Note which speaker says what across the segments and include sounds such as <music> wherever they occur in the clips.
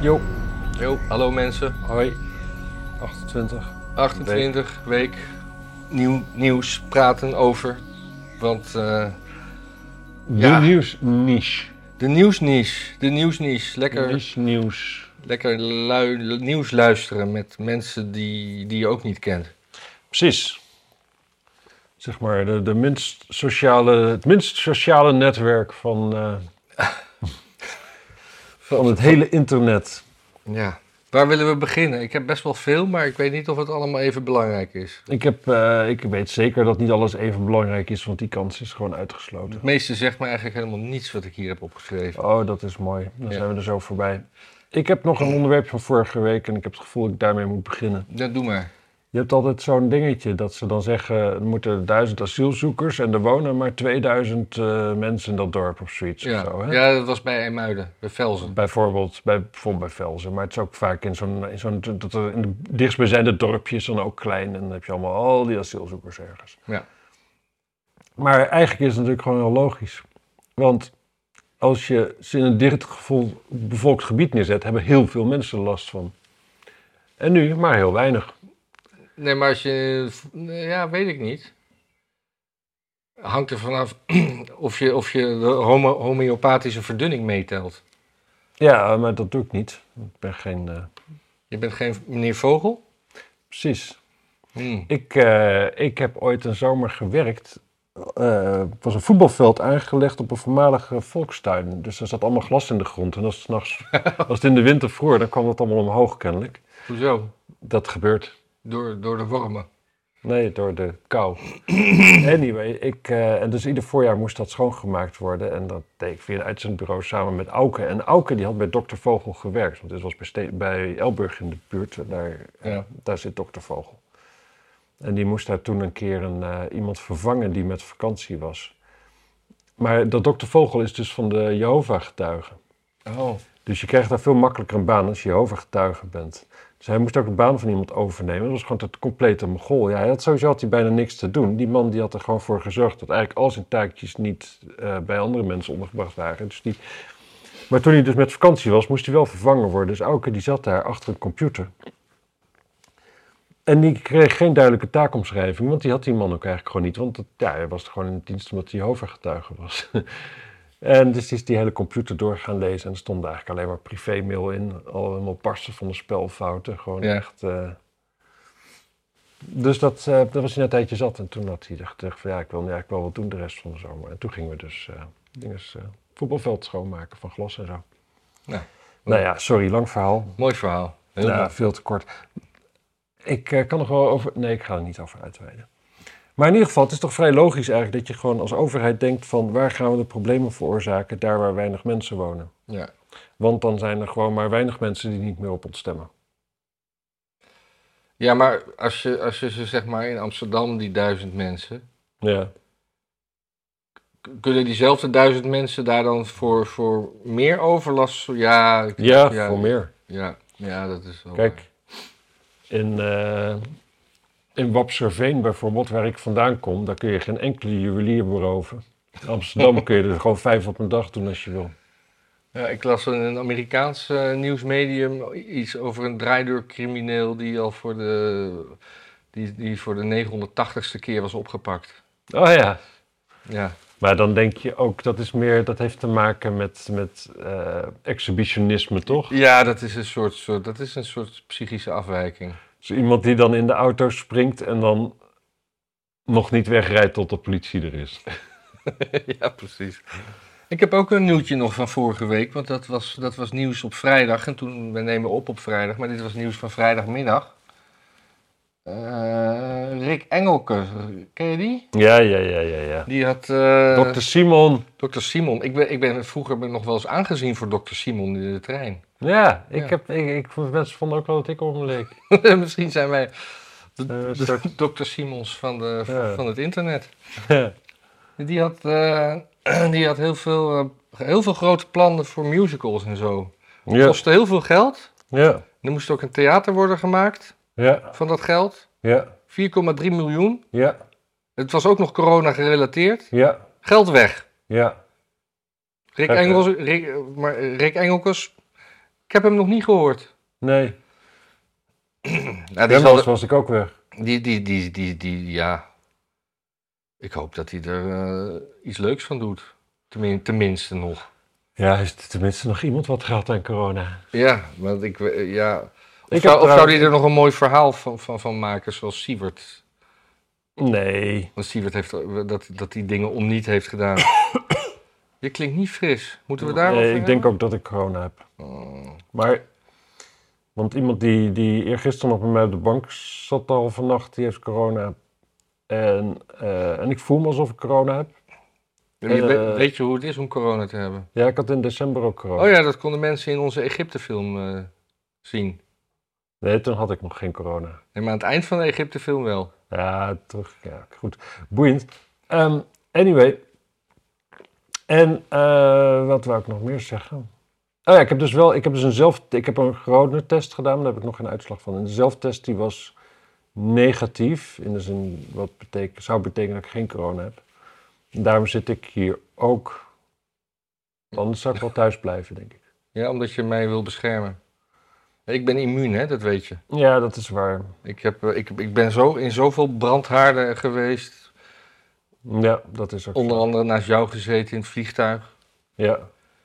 Speaker 1: Jo,
Speaker 2: Jo, hallo mensen.
Speaker 1: hoi. 28.
Speaker 2: 28 week nieuw, nieuws praten over. Want eh, Ja.
Speaker 1: De nieuws niche.
Speaker 2: de nieuwsniche, de nieuwsniche. Lekker,
Speaker 1: Niche nieuws.
Speaker 2: lekker lui- nieuws luisteren met mensen die, die je ook niet kent.
Speaker 1: Precies. Zeg maar de, de minst sociale, het minst sociale netwerk van,
Speaker 2: <laughs>
Speaker 1: eh, van het hele internet.
Speaker 2: Ja. Waar willen we beginnen? Ik heb best wel veel, maar ik weet niet of het allemaal even belangrijk is.
Speaker 1: Ik, heb, eh, ik weet zeker dat niet alles even belangrijk is, want die kans is gewoon uitgesloten.
Speaker 2: Het meeste zegt me eigenlijk helemaal niets wat ik hier heb opgeschreven.
Speaker 1: Oh, dat is mooi. Dan
Speaker 2: Ja.
Speaker 1: zijn we er zo voorbij. Ik heb nog een onderwerp van vorige week en ik heb het gevoel dat ik daarmee moet beginnen.
Speaker 2: Ja, doe maar.
Speaker 1: Je hebt altijd zo'n dingetje dat ze dan zeggen: er moeten duizend asielzoekers en er wonen maar 2000 eh, mensen in dat dorp of zoiets.
Speaker 2: Ja.
Speaker 1: Of zo, hè?
Speaker 2: ja, dat was bij Eemuiden, bij Velzen.
Speaker 1: Bijvoorbeeld, bij, bijvoorbeeld bij Velzen, maar het is ook vaak in zo'n, in zo'n dat er in de dichtstbijzijnde dorpjes dan ook klein en dan heb je allemaal al die asielzoekers ergens.
Speaker 2: Ja.
Speaker 1: Maar eigenlijk is het natuurlijk gewoon heel logisch. Want als je ze in een dicht gevol- bevolkt gebied neerzet, hebben heel veel mensen er last van. En nu maar heel weinig.
Speaker 2: Nee, maar als je. Ja, weet ik niet. Hangt er vanaf <clears throat> of je, of je de homo- homeopathische verdunning meetelt.
Speaker 1: Ja, maar dat doe ik niet. Ik ben geen. eh,
Speaker 2: Je bent geen meneer Vogel?
Speaker 1: Precies.
Speaker 2: Hmm.
Speaker 1: Ik, eh, ik heb ooit een zomer gewerkt. Eh, Er was een voetbalveld aangelegd op een voormalige volkstuin. Dus er zat allemaal glas in de grond. En als het, 's nachts, als het in de winter vroor, dan kwam dat allemaal omhoog kennelijk.
Speaker 2: Hoezo?
Speaker 1: Dat gebeurt.
Speaker 2: Door, door de wormen.
Speaker 1: Nee, door de kou. Anyway, ik, eh, en dus ieder voorjaar moest dat schoongemaakt worden. En dat deed ik via een uitzendbureau samen met Auke. En Auke die had bij Dr. Vogel gewerkt. Want dit was bij, Ste- bij Elburg in de buurt. En Daar, eh,
Speaker 2: Ja.
Speaker 1: daar zit Dr. Vogel. En die moest daar toen een keer een, eh, iemand vervangen die met vakantie was. Maar dat Dr. Vogel is dus van de Jehovah-getuigen.
Speaker 2: Oh.
Speaker 1: Dus je krijgt daar veel makkelijker een baan als je Jehovah-getuige bent. Dus hij moest ook de baan van iemand overnemen. Dat was gewoon het complete mogol. Ja, hij had sowieso had hij bijna niks te doen. Die man die had er gewoon voor gezorgd dat eigenlijk al zijn taakjes niet eh, bij andere mensen ondergebracht waren. Dus die... Maar toen hij dus met vakantie was, moest hij wel vervangen worden. Dus Auke die zat daar achter een computer. En die kreeg geen duidelijke taakomschrijving, want die had die man ook eigenlijk gewoon niet. Want dat- ja, hij was er gewoon in dienst omdat hij Jehovah-getuige was. <laughs> En dus is die hele computer door gaan lezen en er stonden eigenlijk alleen maar privémail in. Al helemaal barsten van de spelfouten. Gewoon
Speaker 2: Ja.
Speaker 1: echt. eh. Dus dat, eh dat was hij na een tijdje zat. En toen had hij gezegd van ja, ik wil nu eigenlijk wel wat doen de rest van de zomer. En toen gingen we dus eh dinges, eh, voetbalveld schoonmaken van glas en zo.
Speaker 2: Nou.
Speaker 1: nou ja, sorry, lang verhaal.
Speaker 2: Mooi verhaal. Heel
Speaker 1: Ja,
Speaker 2: mooi.
Speaker 1: veel te kort. Ik eh, kan nog wel over. Nee, ik ga er niet over uitweiden. Maar in ieder geval, het is toch vrij logisch eigenlijk dat je gewoon als overheid denkt van waar gaan we de problemen veroorzaken daar waar weinig mensen wonen.
Speaker 2: Ja.
Speaker 1: Want dan zijn er gewoon maar weinig mensen die niet meer op ons stemmen.
Speaker 2: ja, maar als je, als je ze zeg maar in Amsterdam, die duizend mensen.
Speaker 1: Ja.
Speaker 2: k- Kunnen diezelfde duizend mensen daar dan voor, voor meer overlast? Ja, ik-
Speaker 1: Ja,
Speaker 2: Ja.
Speaker 1: voor meer.
Speaker 2: ja, ja, dat is wel. waar.
Speaker 1: Kijk, in, eh in Wapserveen bijvoorbeeld, waar ik vandaan kom, daar kun je geen enkele juwelier beroven. In
Speaker 2: <laughs>
Speaker 1: Amsterdam kun je er gewoon vijf op een dag doen als je wil.
Speaker 2: Ja, ik las in een Amerikaans eh, nieuwsmedium iets over een draaideurcrimineel die al voor de, die, die voor de 980ste keer was opgepakt.
Speaker 1: Oh ja,
Speaker 2: Ja,
Speaker 1: Maar dan denk je ook, dat is meer, dat heeft te maken met, met eh, exhibitionisme, toch?
Speaker 2: ja dat, is een soort, soort, dat is een soort psychische afwijking.
Speaker 1: Dus iemand die dan in de auto springt en dan nog niet wegrijdt tot de politie er is.
Speaker 2: <laughs> ja, precies. Ik heb ook een nieuwtje nog van vorige week, want dat was, dat was nieuws op vrijdag. En toen, we nemen op op vrijdag, maar dit was nieuws van vrijdagmiddag. Eh, Rick Engelke, ken je die?
Speaker 1: Ja, ja, ja, ja, ja.
Speaker 2: Die had... eh,
Speaker 1: Dokter Simon.
Speaker 2: Dr. Simon, ik ben, ik ben vroeger ben ik nog wel eens aangezien voor Dr. Simon in de trein. <laughs>
Speaker 1: Ja, ik
Speaker 2: Ja.
Speaker 1: heb, ik, ik, mensen vonden ook wel dat ik op me leek.
Speaker 2: Misschien zijn wij
Speaker 1: Eh, een soort-
Speaker 2: de Dr. Simons van, de,
Speaker 1: Ja.
Speaker 2: van het internet. Die had, eh, <clears throat> die had heel, veel, eh, heel veel grote plannen voor musicals en zo.
Speaker 1: <laughs> ja,
Speaker 2: Kostte heel veel geld.
Speaker 1: ja,
Speaker 2: Er moest ook een theater worden gemaakt
Speaker 1: ja,
Speaker 2: van dat geld. 4,3
Speaker 1: ja,
Speaker 2: miljoen.
Speaker 1: ja,
Speaker 2: Het was ook nog corona gerelateerd.
Speaker 1: ja,
Speaker 2: Geld weg.
Speaker 1: ja.
Speaker 2: Rick
Speaker 1: Kijk, eh.
Speaker 2: Engels, Rick, eh, maar eh, Rick Engelkes Ik heb hem nog niet gehoord.
Speaker 1: Nee,
Speaker 2: Nou, die, zal
Speaker 1: Demmels
Speaker 2: er-
Speaker 1: was ik ook weg.
Speaker 2: die, die, die, die, die, ja. Ik hoop dat hij er eh, iets leuks van doet. Tenmin- tenminste nog.
Speaker 1: Ja, is er tenminste nog iemand wat gehad aan corona?
Speaker 2: Ja, want ik, we- ja. Of,
Speaker 1: Ik
Speaker 2: zou,
Speaker 1: heb
Speaker 2: of zou
Speaker 1: trouwens-
Speaker 2: hij er nog een mooi verhaal van, van, van maken, zoals Sievert?
Speaker 1: Nee.
Speaker 2: Want Sievert heeft eh, dat, dat die dingen om niet heeft
Speaker 1: <coughs>
Speaker 2: gedaan. Je klinkt niet fris. Moeten we daar
Speaker 1: nee
Speaker 2: over
Speaker 1: Eh, ik denk ook dat ik corona heb.
Speaker 2: Oh.
Speaker 1: Maar, want iemand die, die eergisteren nog bij mij op de bank zat al vannacht, die heeft corona. En, eh, en ik voel me alsof ik corona heb.
Speaker 2: Je weet-
Speaker 1: Eh,
Speaker 2: weet je hoe het is om corona te hebben?
Speaker 1: Ja, ik had in december ook corona.
Speaker 2: Oh ja, dat konden mensen in onze Egypte-film eh, zien.
Speaker 1: Nee, toen had ik nog geen corona.
Speaker 2: Nee, maar aan het eind van de Egypte-film wel.
Speaker 1: Ja, terug. Ja, goed. Boeiend. Ehm, anyway. En eh, wat wou ik nog meer zeggen? Oh ja, ik heb dus wel, ik heb dus een zelf, ik heb een coronatest gedaan, maar daar heb ik nog geen uitslag van. En de zelftest die was negatief, in de zin wat betek- zou betekenen dat ik geen corona heb. En daarom zit ik hier ook. Anders zou ik wel thuis blijven, denk ik.
Speaker 2: Ja, omdat je mij wil beschermen. Ik ben immuun, hè, dat weet je.
Speaker 1: Ja, dat is waar.
Speaker 2: Ik, heb, eh, ik, ik ben zo in zoveel brandhaarden geweest.
Speaker 1: Ja, dat is ook. zo.
Speaker 2: Onder andere naast jou gezeten in het vliegtuig.
Speaker 1: Ja.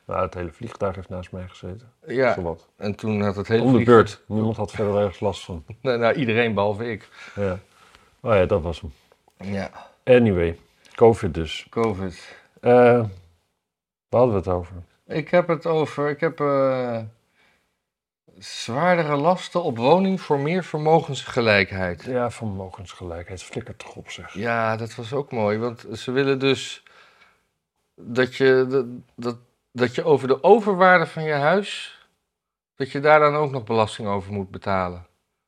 Speaker 1: Nou, het hele vliegtuig heeft naast mij gezeten.
Speaker 2: Ja,
Speaker 1: Zowat.
Speaker 2: en toen had het hele
Speaker 1: Om de
Speaker 2: vliegtuig-
Speaker 1: beurt. Niemand had verder ergens last van.
Speaker 2: Nou, nou, iedereen behalve ik.
Speaker 1: Ja. Oh ja, dat was hem.
Speaker 2: Ja,
Speaker 1: Anyway, COVID dus.
Speaker 2: COVID.
Speaker 1: Eh, waar hadden we het over?
Speaker 2: Ik heb het over, ik heb eh, zwaardere lasten op woning voor meer vermogensgelijkheid.
Speaker 1: Ja, vermogensgelijkheid. Flikker toch op zeg.
Speaker 2: Ja, dat was ook mooi. Want ze willen dus dat je, dat, dat, dat je over de overwaarde van je huis, dat je daar dan ook nog belasting over moet betalen.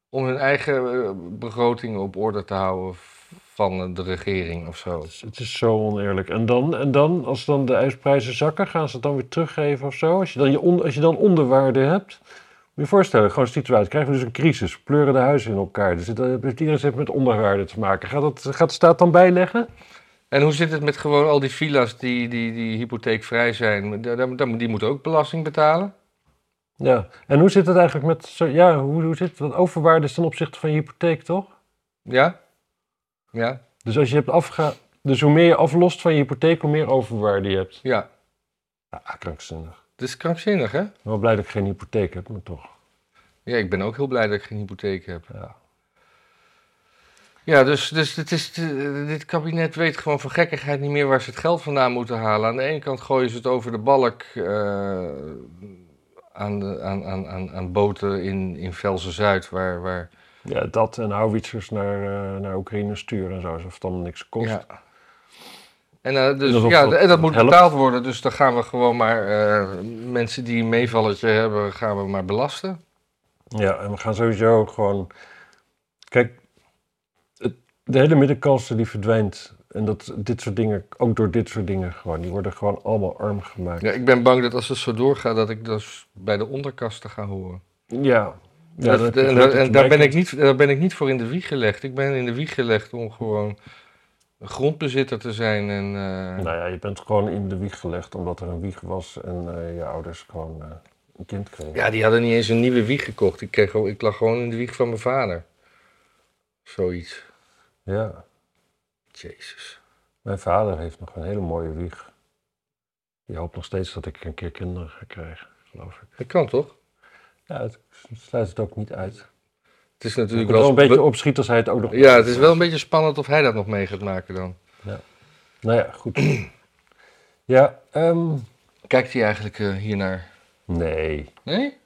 Speaker 2: Om hun eigen eh, begroting op orde te houden v- van eh, de regering of zo.
Speaker 1: Het is, het is zo oneerlijk. En dan, en dan, als dan de ijsprijzen zakken, gaan ze het dan weer teruggeven of zo? Als je dan, je on- als je dan onderwaarde hebt. Moet je je voorstellen, gewoon een situatie. Krijgen we dus een crisis. Pleuren de huizen in elkaar. Dus het, het- iedereen heeft met onderwaarde te maken. Gaat, dat, gaat de staat dan bijleggen?
Speaker 2: En hoe zit het met gewoon al die villa's die, die, die hypotheekvrij zijn? Daar- daar- daar- Die moeten ook belasting betalen.
Speaker 1: Ja. En hoe zit het eigenlijk met... zo- Ja, hoe, hoe zit het? Want overwaarde is ten opzichte van je hypotheek, toch?
Speaker 2: Ja? Ja?
Speaker 1: Dus als je hebt afge... Dus hoe meer je aflost van je hypotheek, hoe meer overwaarde je hebt.
Speaker 2: Ja.
Speaker 1: Ja, krankzinnig.
Speaker 2: Dat is krankzinnig, hè?
Speaker 1: Ik ben wel blij dat ik geen hypotheek heb, maar toch.
Speaker 2: Ja, ik ben ook heel blij dat ik geen hypotheek heb.
Speaker 1: Ja.
Speaker 2: Ja, dus, dus het is, dit kabinet weet gewoon van gekkigheid niet meer waar ze het geld vandaan moeten halen. Aan de ene kant gooien ze het over de balk eh, aan, de, aan, aan, aan, aan boten in, in Velzen-Zuid, waar... waar
Speaker 1: Ja, dat en houwitsers naar, eh, naar Oekraïne sturen en zo, alsof het allemaal niks kost.
Speaker 2: ja. En, eh, dus,
Speaker 1: En alsof
Speaker 2: ja,
Speaker 1: dat-
Speaker 2: en dat
Speaker 1: dat
Speaker 2: moet
Speaker 1: helpt.
Speaker 2: betaald worden, dus dan gaan we gewoon maar eh, mensen die een meevalletje hebben, gaan we maar belasten.
Speaker 1: Ja, en we gaan sowieso gewoon... Kijk, het, de hele middenklasse die verdwijnt. En dat, dit soort dingen, ook door dit soort dingen gewoon. Die worden gewoon allemaal arm gemaakt.
Speaker 2: Ja, ik ben bang dat als het zo doorgaat, dat ik dus bij de onderkasten ga horen.
Speaker 1: Ja. Ja,
Speaker 2: Dat-
Speaker 1: dan heb je
Speaker 2: en
Speaker 1: geluk
Speaker 2: dat-
Speaker 1: dat je
Speaker 2: en daar, ben
Speaker 1: bij-
Speaker 2: ik niet, daar ben ik niet voor in de wieg gelegd. Ik ben in de wieg gelegd om gewoon een grondbezitter te zijn. En, eh,
Speaker 1: Nou ja, je bent gewoon in de wieg gelegd omdat er een wieg was en eh, je ouders gewoon eh, een kind kregen.
Speaker 2: Ja, die hadden niet eens een nieuwe wieg gekocht. Ik, kreeg, gewoon- ik lag gewoon in de wieg van mijn vader. Zoiets.
Speaker 1: Ja,
Speaker 2: Jezus.
Speaker 1: mijn vader heeft nog een hele mooie wieg. Die hoopt nog steeds dat ik een keer kinderen ga krijgen, geloof ik.
Speaker 2: Dat kan toch?
Speaker 1: Ja, het sluit het ook niet uit.
Speaker 2: Dus Het is
Speaker 1: Je
Speaker 2: natuurlijk
Speaker 1: moet wel
Speaker 2: wel...
Speaker 1: een beetje opschieten als hij het ook nog...
Speaker 2: Ja, het is wel een beetje spannend of hij dat nog mee gaat maken dan.
Speaker 1: Nou ja, goed. Ja, ehm,
Speaker 2: Kijkt hij eigenlijk eh, hiernaar?
Speaker 1: nee.
Speaker 2: Nee?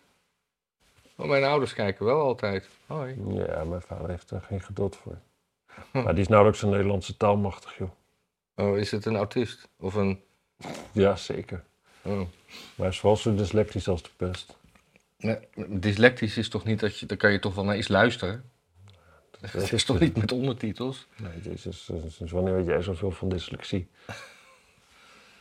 Speaker 2: Oh, mijn ouders kijken wel altijd. Hoi.
Speaker 1: Ja, mijn vader heeft er geen geduld voor. Maar die is nauwelijks een Nederlandse taalmachtig, joh.
Speaker 2: Oh, is het een autist? Of een...
Speaker 1: Ja, zeker.
Speaker 2: Oh.
Speaker 1: Maar hij is vooral zo dyslectisch als de pest.
Speaker 2: Nee, dyslectisch is toch niet dat je... Dan kan je toch wel naar iets luisteren? <laughs> Het is toch niet met ondertitels?
Speaker 1: Nee, jezus, sinds wanneer weet jij zoveel van dyslexie?
Speaker 2: <laughs>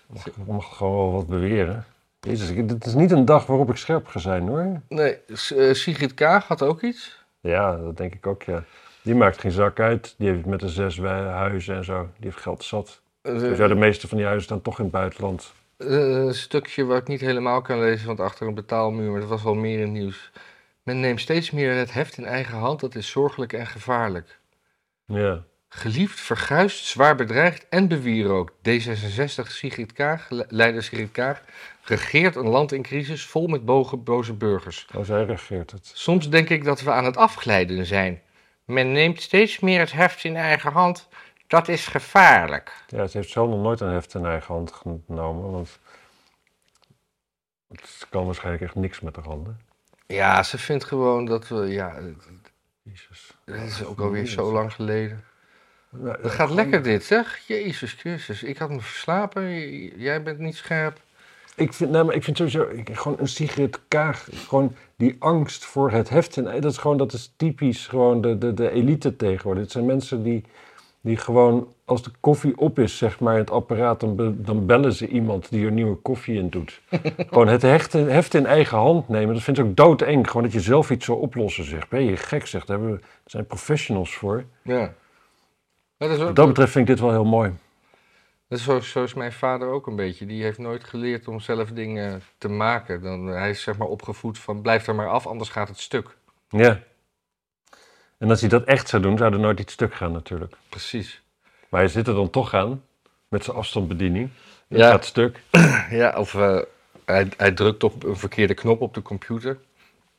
Speaker 1: Mag, ik mag gewoon wel wat beweren. Jezus, ik- dit is niet een dag waarop ik scherp ga zijn hoor.
Speaker 2: Nee, S- eh, Sigrid Kaag had ook iets.
Speaker 1: Ja, dat denk ik ook, ja. Die maakt geen zak uit. Die heeft met de zes wij- huizen en zo. Die heeft geld zat.
Speaker 2: Eh,
Speaker 1: Dus ja, de meeste van die huizen staan toch in het buitenland.
Speaker 2: eh, een stukje wat ik niet helemaal kan lezen, want achter een betaalmuur, maar dat was wel meer in het nieuws. Men neemt steeds meer het heft in eigen hand, dat is zorgelijk en gevaarlijk.
Speaker 1: Ja.
Speaker 2: Geliefd, verguisd, zwaar bedreigd en bewierookt. D66 Sigrid Kaag, le- leider Sigrid Kaag, regeert een land in crisis vol met boge- boze burgers.
Speaker 1: Oh, zij regeert het.
Speaker 2: Soms denk ik dat we aan het afglijden zijn. Men neemt steeds meer het heft in eigen hand. Dat is gevaarlijk.
Speaker 1: Ja, ze heeft zelf nog nooit een heft in eigen hand genomen, want het kan waarschijnlijk echt niks met haar handen.
Speaker 2: Ja, ze vindt gewoon dat we. Ja,
Speaker 1: Jezus.
Speaker 2: dat is ook alweer zo lang geleden.
Speaker 1: Nou,
Speaker 2: Het gaat lekker dit, zeg. Jezus Christus, ik had me verslapen. J- Jij bent niet scherp.
Speaker 1: Ik vind, nee, maar ik vind sowieso ik, gewoon een Sigrid Kaag, gewoon die angst voor het heft. En dat is gewoon, dat is typisch gewoon de, de, de elite tegenwoordig. Het zijn mensen die, die gewoon, als de koffie op is, zeg maar, in het apparaat, dan, be- dan bellen ze iemand die er nieuwe koffie in doet. gewoon het heft, in- heft in eigen hand nemen, dat vind ik ook doodeng. Gewoon dat je zelf iets zou oplossen, zeg. Ben je gek, zegt. Daar hebben we- daar zijn professionals voor.
Speaker 2: Ja. Dat is ook,
Speaker 1: Wat dat betreft vind ik dit wel heel mooi.
Speaker 2: Dat is zo, zo is mijn vader ook een beetje. Die heeft nooit geleerd om zelf dingen te maken. Dan, hij is zeg maar opgevoed van blijf er maar af, anders gaat het stuk.
Speaker 1: Ja. En als hij dat echt zou doen, zou er nooit iets stuk gaan natuurlijk.
Speaker 2: Precies.
Speaker 1: Maar hij zit er dan toch aan, met zijn afstandsbediening. Dat
Speaker 2: Ja.
Speaker 1: gaat stuk.
Speaker 2: Ja, of eh, hij, hij drukt op een verkeerde knop op de computer.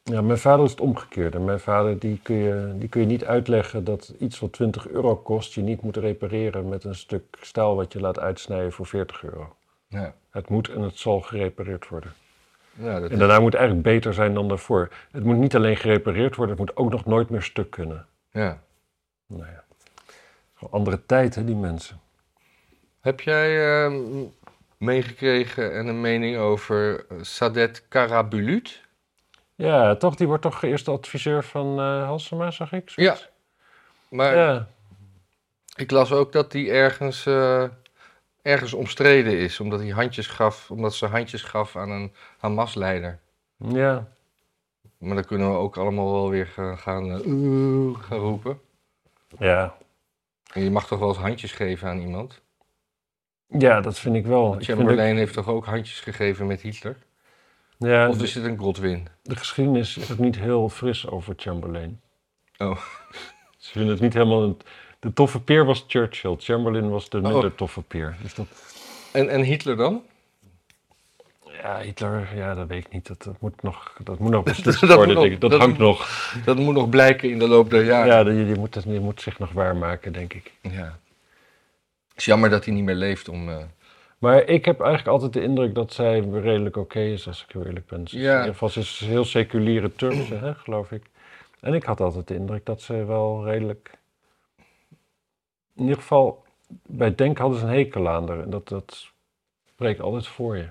Speaker 1: Ja, mijn vader is het omgekeerde. Mijn vader, die kun, je, die kun je niet uitleggen dat iets wat 20 euro kost, je niet moet repareren met een stuk staal wat je laat uitsnijden voor 40 euro.
Speaker 2: Ja.
Speaker 1: Het moet en het zal gerepareerd worden.
Speaker 2: Ja, dat
Speaker 1: En daarna moet het eigenlijk beter zijn dan daarvoor. Het moet niet alleen gerepareerd worden, het moet ook nog nooit meer stuk kunnen.
Speaker 2: ja.
Speaker 1: Nou ja. Gewoon andere tijd, hè, die mensen.
Speaker 2: Heb jij eh, m- meegekregen en een mening over eh, Sadet Karabulut?
Speaker 1: Ja, toch? Die wordt toch eerste adviseur van eh Halsema, zag ik?
Speaker 2: Ja.
Speaker 1: zoiets?
Speaker 2: Maar
Speaker 1: ja.
Speaker 2: ik las ook dat die ergens, eh, ergens omstreden is. Omdat, hij handjes gaf, omdat ze handjes gaf aan een Hamas-leider.
Speaker 1: Ja.
Speaker 2: Maar dan kunnen we ook allemaal wel weer gaan, gaan, eh, "Oeh", gaan roepen.
Speaker 1: Ja,
Speaker 2: En je mag toch wel eens handjes geven aan iemand?
Speaker 1: Ja, dat vind ik wel. Ik vind
Speaker 2: Chamberlain heeft toch ook handjes gegeven met Hitler?
Speaker 1: ook- ja,
Speaker 2: Of
Speaker 1: de-
Speaker 2: is het een Godwin?
Speaker 1: de geschiedenis is ook niet heel fris over Chamberlain.
Speaker 2: Oh.
Speaker 1: <laughs> Ze vinden het niet helemaal... Een, de toffe peer was Churchill. Chamberlain was de minder
Speaker 2: Oh.
Speaker 1: toffe peer. Dus dat,
Speaker 2: En, en Hitler dan?
Speaker 1: ja, Hitler, ja, dat weet ik niet. Dat, dat moet nog, dat moet <laughs> nog beslist
Speaker 2: Dat moet
Speaker 1: worden.
Speaker 2: nog-
Speaker 1: denk ik. dat,
Speaker 2: dat
Speaker 1: hangt
Speaker 2: moet-
Speaker 1: nog.
Speaker 2: Dat moet nog blijken in de loop der
Speaker 1: Ja,
Speaker 2: jaren.
Speaker 1: die, die moet, het- die moet zich nog waarmaken, denk ik.
Speaker 2: Ja. Het is jammer dat hij niet meer leeft om... eh,
Speaker 1: Maar ik heb eigenlijk altijd de indruk dat zij redelijk oké is, als ik heel eerlijk ben. Ze is
Speaker 2: Ja.
Speaker 1: In ieder geval, ze is heel seculiere Turkse, hè, geloof ik. En ik had altijd de indruk dat ze wel redelijk... In ieder geval, bij Denk hadden ze een hekel aan haar. En dat, dat spreekt altijd voor je.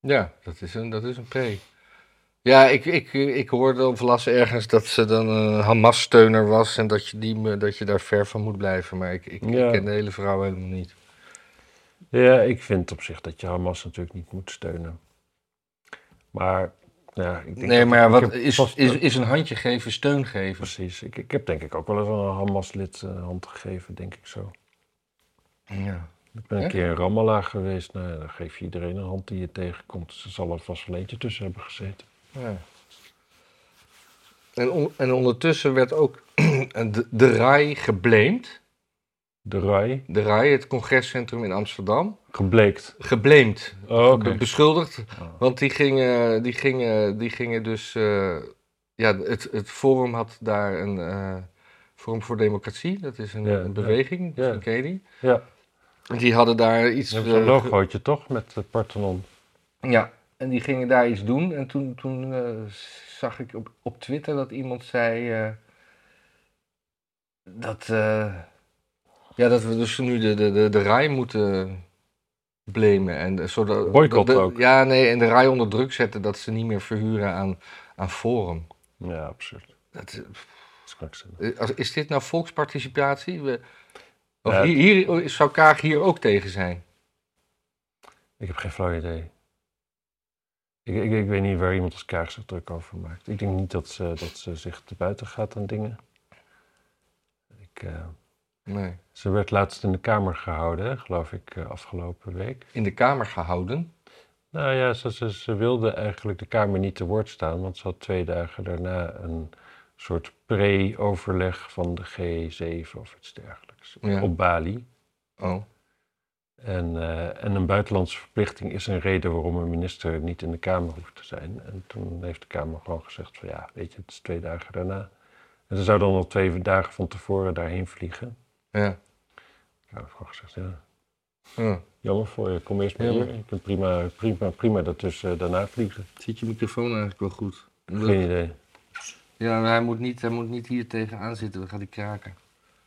Speaker 2: Ja, dat is een, dat is een pre. Ja, ik, ik, ik hoorde of las ergens dat ze dan een Hamas-steuner was... en dat je, die, me- dat je daar ver van moet blijven. Maar ik, ik, ik
Speaker 1: Ja.
Speaker 2: ken de hele vrouw helemaal niet.
Speaker 1: Ja, ik vind op zich dat je Hamas natuurlijk niet moet steunen. Maar, ja, ik denk...
Speaker 2: Nee,
Speaker 1: dat-
Speaker 2: maar
Speaker 1: ik
Speaker 2: wat
Speaker 1: heb
Speaker 2: is,
Speaker 1: vast-
Speaker 2: is, is een handje geven steun geven?
Speaker 1: Precies. Ik, ik heb denk ik ook wel eens aan een Hamas-lid eh, hand gegeven, denk ik zo.
Speaker 2: Ja.
Speaker 1: Ik ben een
Speaker 2: Echt?
Speaker 1: keer in Ramallah geweest. Nou, ja, dan geef je iedereen een hand die je tegenkomt. Ze zal er vast wel eentje tussen hebben gezeten.
Speaker 2: ja. En, on- en ondertussen werd ook <clears throat> de, de RAI geblamed.
Speaker 1: De RAI,
Speaker 2: De RAI, het congrescentrum in Amsterdam.
Speaker 1: gebleekt.
Speaker 2: Geblamed.
Speaker 1: Oh, oké.
Speaker 2: be- beschuldigd.
Speaker 1: Ah.
Speaker 2: Want die gingen, die gingen, die gingen dus. eh, ja, het, het Forum had daar een. eh, Forum voor Democratie, dat is een,
Speaker 1: Ja,
Speaker 2: een
Speaker 1: ja.
Speaker 2: beweging,
Speaker 1: Ja.
Speaker 2: misschien ken je die.
Speaker 1: Ja,
Speaker 2: Die hadden daar iets.
Speaker 1: ze hebben zo'n
Speaker 2: eh,
Speaker 1: logootje toch met het Parthenon.
Speaker 2: Ja, en die gingen daar iets doen. En toen, toen eh, zag ik op, op Twitter dat iemand zei eh, dat, eh, ja, dat we dus nu de, de, de, de RAI moeten blamen. En de- zodat,
Speaker 1: Boycott
Speaker 2: dat de-
Speaker 1: ook.
Speaker 2: Ja, nee, en de RAI onder druk zetten dat ze niet meer verhuren aan, aan Forum.
Speaker 1: Ja, absurd.
Speaker 2: Dat,
Speaker 1: Straks.
Speaker 2: eh, als- is dit nou volksparticipatie? We, of
Speaker 1: Ja.
Speaker 2: hier, hier- oh, zou Kaag hier ook tegen zijn?
Speaker 1: Ik heb geen flauw idee. Ik, ik, ik weet niet waar iemand als Kaag zich druk over maakt. Ik denk niet dat ze, dat ze zich te buiten gaat aan dingen. Ik, eh,
Speaker 2: Nee.
Speaker 1: ze werd laatst in de Kamer gehouden, hè, geloof ik, eh, afgelopen week.
Speaker 2: In de Kamer gehouden?
Speaker 1: Nou ja, ze, ze, ze wilde eigenlijk de Kamer niet te woord staan, want ze had twee dagen daarna een soort pre-overleg van de G7 of iets dergelijks
Speaker 2: Ja.
Speaker 1: op Bali.
Speaker 2: Oh.
Speaker 1: En, eh, en een buitenlandse verplichting is een reden waarom een minister niet in de Kamer hoeft te zijn. En toen heeft de Kamer gewoon gezegd van ja, weet je, het is twee dagen daarna. En ze zou dan al twee dagen van tevoren daarheen vliegen.
Speaker 2: Ja.
Speaker 1: Ik heb gewoon gezegd, ja,
Speaker 2: ja.
Speaker 1: jammer voor je, kom eerst maar
Speaker 2: Ja,
Speaker 1: hier.
Speaker 2: maar-
Speaker 1: Je kunt prima, prima, prima daartussen eh, daarna vliegen.
Speaker 2: Zit je microfoon eigenlijk wel goed?
Speaker 1: Geen idee.
Speaker 2: Ja, maar hij moet, niet, hij moet niet hier tegenaan zitten, dan gaat hij kraken.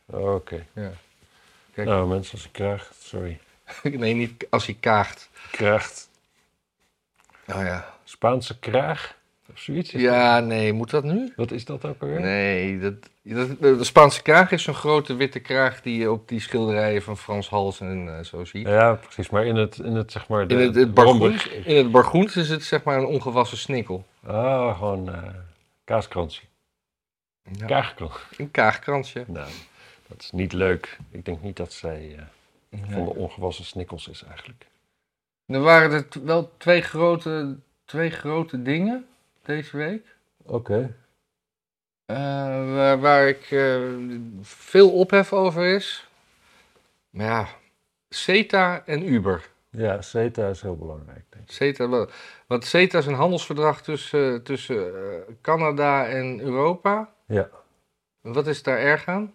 Speaker 1: Oké.
Speaker 2: Ja. <laughs> Kijk.
Speaker 1: Nou mensen, als ik kraag, sorry.
Speaker 2: nee, niet als hij kaagt.
Speaker 1: Kraagt.
Speaker 2: Oh ja.
Speaker 1: Spaanse kraag of zoiets? is dat?
Speaker 2: Ja, nee, moet dat nu?
Speaker 1: Wat is dat ook alweer?
Speaker 2: Nee, dat, dat, de Spaanse kraag is zo'n grote witte kraag die je op die schilderijen van Frans Hals en eh, zo ziet.
Speaker 1: Ja, precies. Maar in het, in het zeg maar... De,
Speaker 2: In het, het bargoens, in het bargoens is het zeg maar een ongewassen snikkel.
Speaker 1: Ah, gewoon eh kaaskransje.
Speaker 2: Ja,
Speaker 1: Kaagkransje.
Speaker 2: Een kaagkransje.
Speaker 1: Nou, dat is niet leuk. Ik denk niet dat zij eh, van
Speaker 2: Ja.
Speaker 1: de ongewassen snikkels is eigenlijk.
Speaker 2: Er waren er t- wel twee grote, twee grote dingen deze week.
Speaker 1: Oké.
Speaker 2: Eh, waar, waar ik eh, veel ophef over is. Maar ja, CETA en Uber.
Speaker 1: Ja, CETA is heel belangrijk, denk ik.
Speaker 2: CETA, wel- want CETA is een handelsverdrag tussen, tussen eh, Canada en Europa.
Speaker 1: Ja,
Speaker 2: Wat is daar erg aan?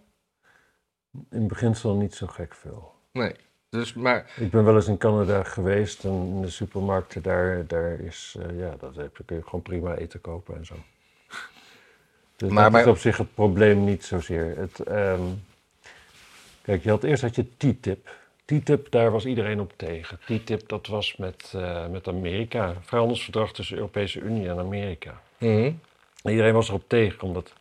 Speaker 1: in beginsel niet zo gek veel.
Speaker 2: Nee. Dus, maar,
Speaker 1: Ik ben wel eens in Canada geweest en in de supermarkten daar, daar is, eh, ja, dat heb, je- kun je gewoon prima eten kopen en zo. Dus
Speaker 2: Maar
Speaker 1: dat
Speaker 2: bij-
Speaker 1: is op zich het probleem niet zozeer. Het, ehm, kijk, je had eerst had je TTIP. TTIP, daar was iedereen op tegen. TTIP, dat was met, eh, met Amerika. Een Vrijhandelsverdrag tussen de Europese Unie en Amerika.
Speaker 2: Mhm.
Speaker 1: En iedereen was erop tegen, omdat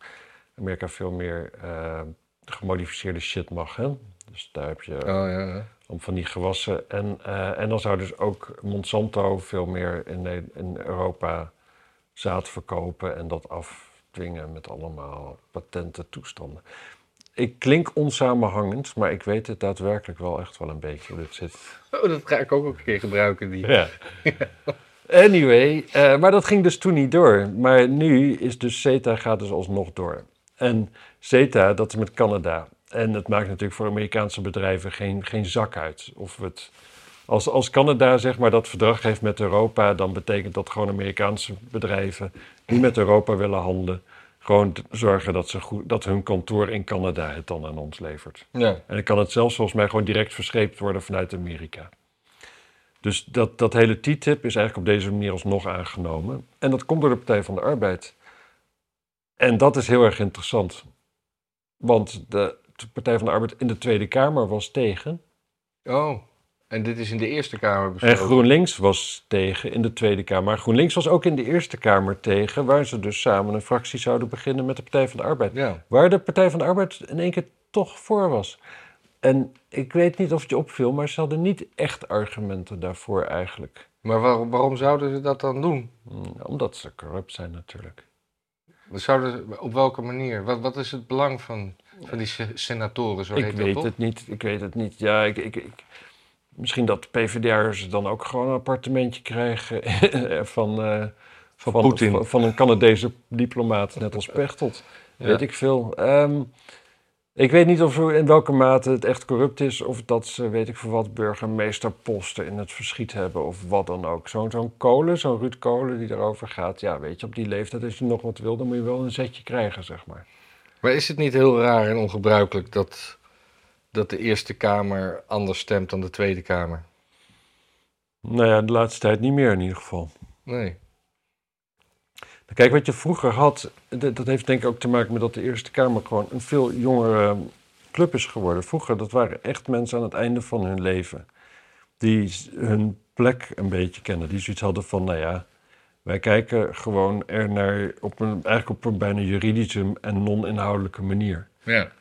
Speaker 1: Amerika veel meer eh, gemodificeerde shit mag. Hè? Dus daar heb je
Speaker 2: Oh ja, ja.
Speaker 1: om van die gewassen. En, eh, en dan zou dus ook Monsanto veel meer in, Ne- in Europa zaad verkopen en dat afdwingen met allemaal patenten toestanden. Ik klink onsamenhangend, maar ik weet het daadwerkelijk wel echt wel een beetje hoe dit zit.
Speaker 2: Oh, dat ga ik ook een keer gebruiken. Die.
Speaker 1: Ja. <laughs> Anyway, eh, maar dat ging dus toen niet door. Maar nu is dus CETA gaat dus alsnog door. En CETA, dat is met Canada. En dat maakt natuurlijk voor Amerikaanse bedrijven geen, geen zak uit. Of we het, als, als Canada zeg maar dat verdrag heeft met Europa, dan betekent dat gewoon Amerikaanse bedrijven die met Europa willen handelen, gewoon t- zorgen dat, ze goed, dat hun kantoor in Canada het dan aan ons levert.
Speaker 2: Ja.
Speaker 1: En dan kan het zelfs volgens mij gewoon direct verscheept worden vanuit Amerika. Dus dat, dat hele TTIP is eigenlijk op deze manier alsnog aangenomen. En dat komt door de Partij van de Arbeid. En dat is heel erg interessant. Want de, de Partij van de Arbeid in de Tweede Kamer was tegen.
Speaker 2: Oh, en dit is in de Eerste Kamer
Speaker 1: En
Speaker 2: besproken.
Speaker 1: GroenLinks was tegen in de Tweede Kamer. Maar GroenLinks was ook in de Eerste Kamer tegen, waar ze dus samen een fractie zouden beginnen met de Partij van de Arbeid.
Speaker 2: Ja.
Speaker 1: Waar de Partij van de Arbeid in één keer toch voor was. En ik weet niet of het je opviel, maar ze hadden niet echt argumenten daarvoor eigenlijk.
Speaker 2: Maar waarom, waarom zouden ze dat dan doen?
Speaker 1: Mm, Omdat ze corrupt zijn natuurlijk.
Speaker 2: We Zouden, op welke manier? Wat, wat is het belang van, van die se- senatoren? Zo
Speaker 1: ik
Speaker 2: heet
Speaker 1: weet
Speaker 2: dat, toch?
Speaker 1: het niet, ik weet het niet. Ja, ik, ik, ik, misschien dat de PvdA'ers dan ook gewoon een appartementje krijgen <laughs> van, eh, van,
Speaker 2: Poetin.
Speaker 1: Van, van een Canadese diplomaat, net als Pechtold.
Speaker 2: Ja.
Speaker 1: Weet ik veel. Ehm, ik weet niet of in welke mate het echt corrupt is, of dat ze, weet ik voor wat, burgemeesterposten in het verschiet hebben, of wat dan ook. Zo'n zo'n kolen, zo'n Ruud Kolen die erover gaat, ja, weet je, op die leeftijd, als je nog wat wil, dan moet je wel een zetje krijgen, zeg maar.
Speaker 2: Maar is het niet heel raar en ongebruikelijk dat, dat de Eerste Kamer anders stemt dan de Tweede Kamer?
Speaker 1: Nou ja, de laatste tijd niet meer in ieder geval.
Speaker 2: Nee.
Speaker 1: Nou, Kijk, wat je vroeger had, d- dat heeft denk ik ook te maken met dat de Eerste Kamer gewoon een veel jongere ehm, club is geworden. Vroeger, dat waren echt mensen aan het einde van hun leven. Die s- hun plek een beetje kennen. Die zoiets hadden van, nou ja, wij kijken gewoon er naar op een, eigenlijk op een bijna juridische en non-inhoudelijke manier.
Speaker 2: Ja.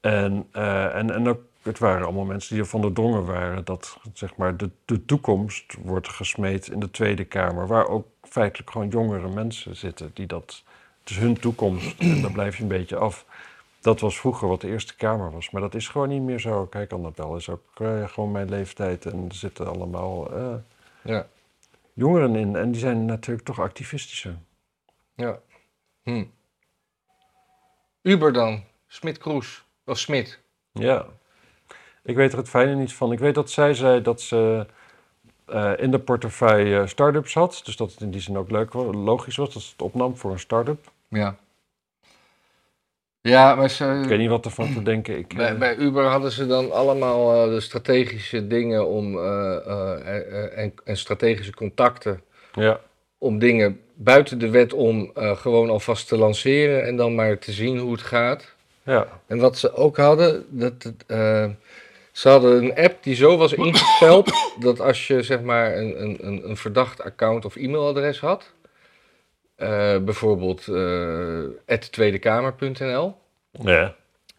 Speaker 1: En, eh, en, en ook, het waren allemaal mensen die ervan doordrongen waren dat zeg maar, de, de toekomst wordt gesmeed in de Tweede Kamer, waar ook feitelijk gewoon jongere mensen zitten die dat. Het is hun toekomst en daar blijf je een beetje af. Dat was vroeger wat de Eerste Kamer was, maar dat is gewoon niet meer zo. Kijk, Annabel is ook eh, gewoon mijn leeftijd en er zitten allemaal eh,
Speaker 2: ja.
Speaker 1: jongeren in. En die zijn natuurlijk toch activistischer.
Speaker 2: Ja. Hm. Uber dan. Smit Kroes. Of Smit.
Speaker 1: Ja. Ik weet er het fijne niet van. Ik weet dat zij zei dat ze eh, in de portefeuille eh, start-ups had. Dus dat het in die zin ook leuk, wa- logisch was dat ze het opnam voor een start-up.
Speaker 2: Ja. Ja, maar ze,
Speaker 1: Ik weet niet wat ervan te denken. Ik,
Speaker 2: Bij,
Speaker 1: eh,
Speaker 2: bij Uber hadden ze dan allemaal eh, de strategische dingen om, eh, eh, eh, en, en strategische contacten
Speaker 1: ja.
Speaker 2: om dingen buiten de wet om eh, gewoon alvast te lanceren en dan maar te zien hoe het gaat.
Speaker 1: ja.
Speaker 2: En wat ze ook hadden, dat, het, eh, ze hadden een app die zo was ingesteld dat als je zeg maar een, een, een, een verdacht account of e-mailadres had, eh, bijvoorbeeld eh tweedekamer.nl,
Speaker 1: ja.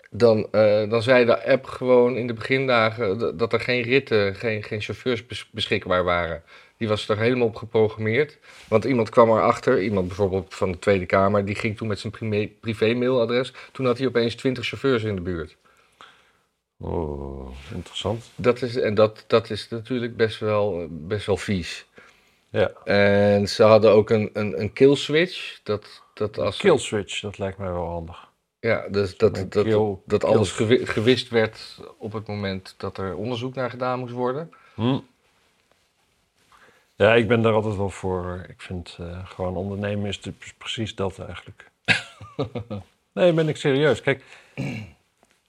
Speaker 2: dan, eh, dan zei de app gewoon in de begindagen d- dat er geen ritten, geen, geen chauffeurs bes- beschikbaar waren. Die was er helemaal op geprogrammeerd. Want iemand kwam erachter, iemand bijvoorbeeld van de Tweede Kamer, die ging toen met zijn prime- privé-mailadres. Toen had hij opeens 20 chauffeurs in de buurt.
Speaker 1: Oh, interessant.
Speaker 2: Dat is, en dat, dat is natuurlijk best wel, best wel vies.
Speaker 1: Ja.
Speaker 2: En ze hadden ook een, een, een kill switch. Dat, dat als
Speaker 1: Kill switch, dat lijkt mij wel handig.
Speaker 2: Ja, dus dat,
Speaker 1: Een
Speaker 2: dat, dat,
Speaker 1: kill-
Speaker 2: dat
Speaker 1: kill
Speaker 2: alles gewi- gewist werd op het moment dat er onderzoek naar gedaan moest worden.
Speaker 1: Hm. Ja, ik ben daar altijd wel voor. hoor. Ik vind eh, gewoon ondernemen is de- precies dat eigenlijk. nee, ben ik serieus. Kijk,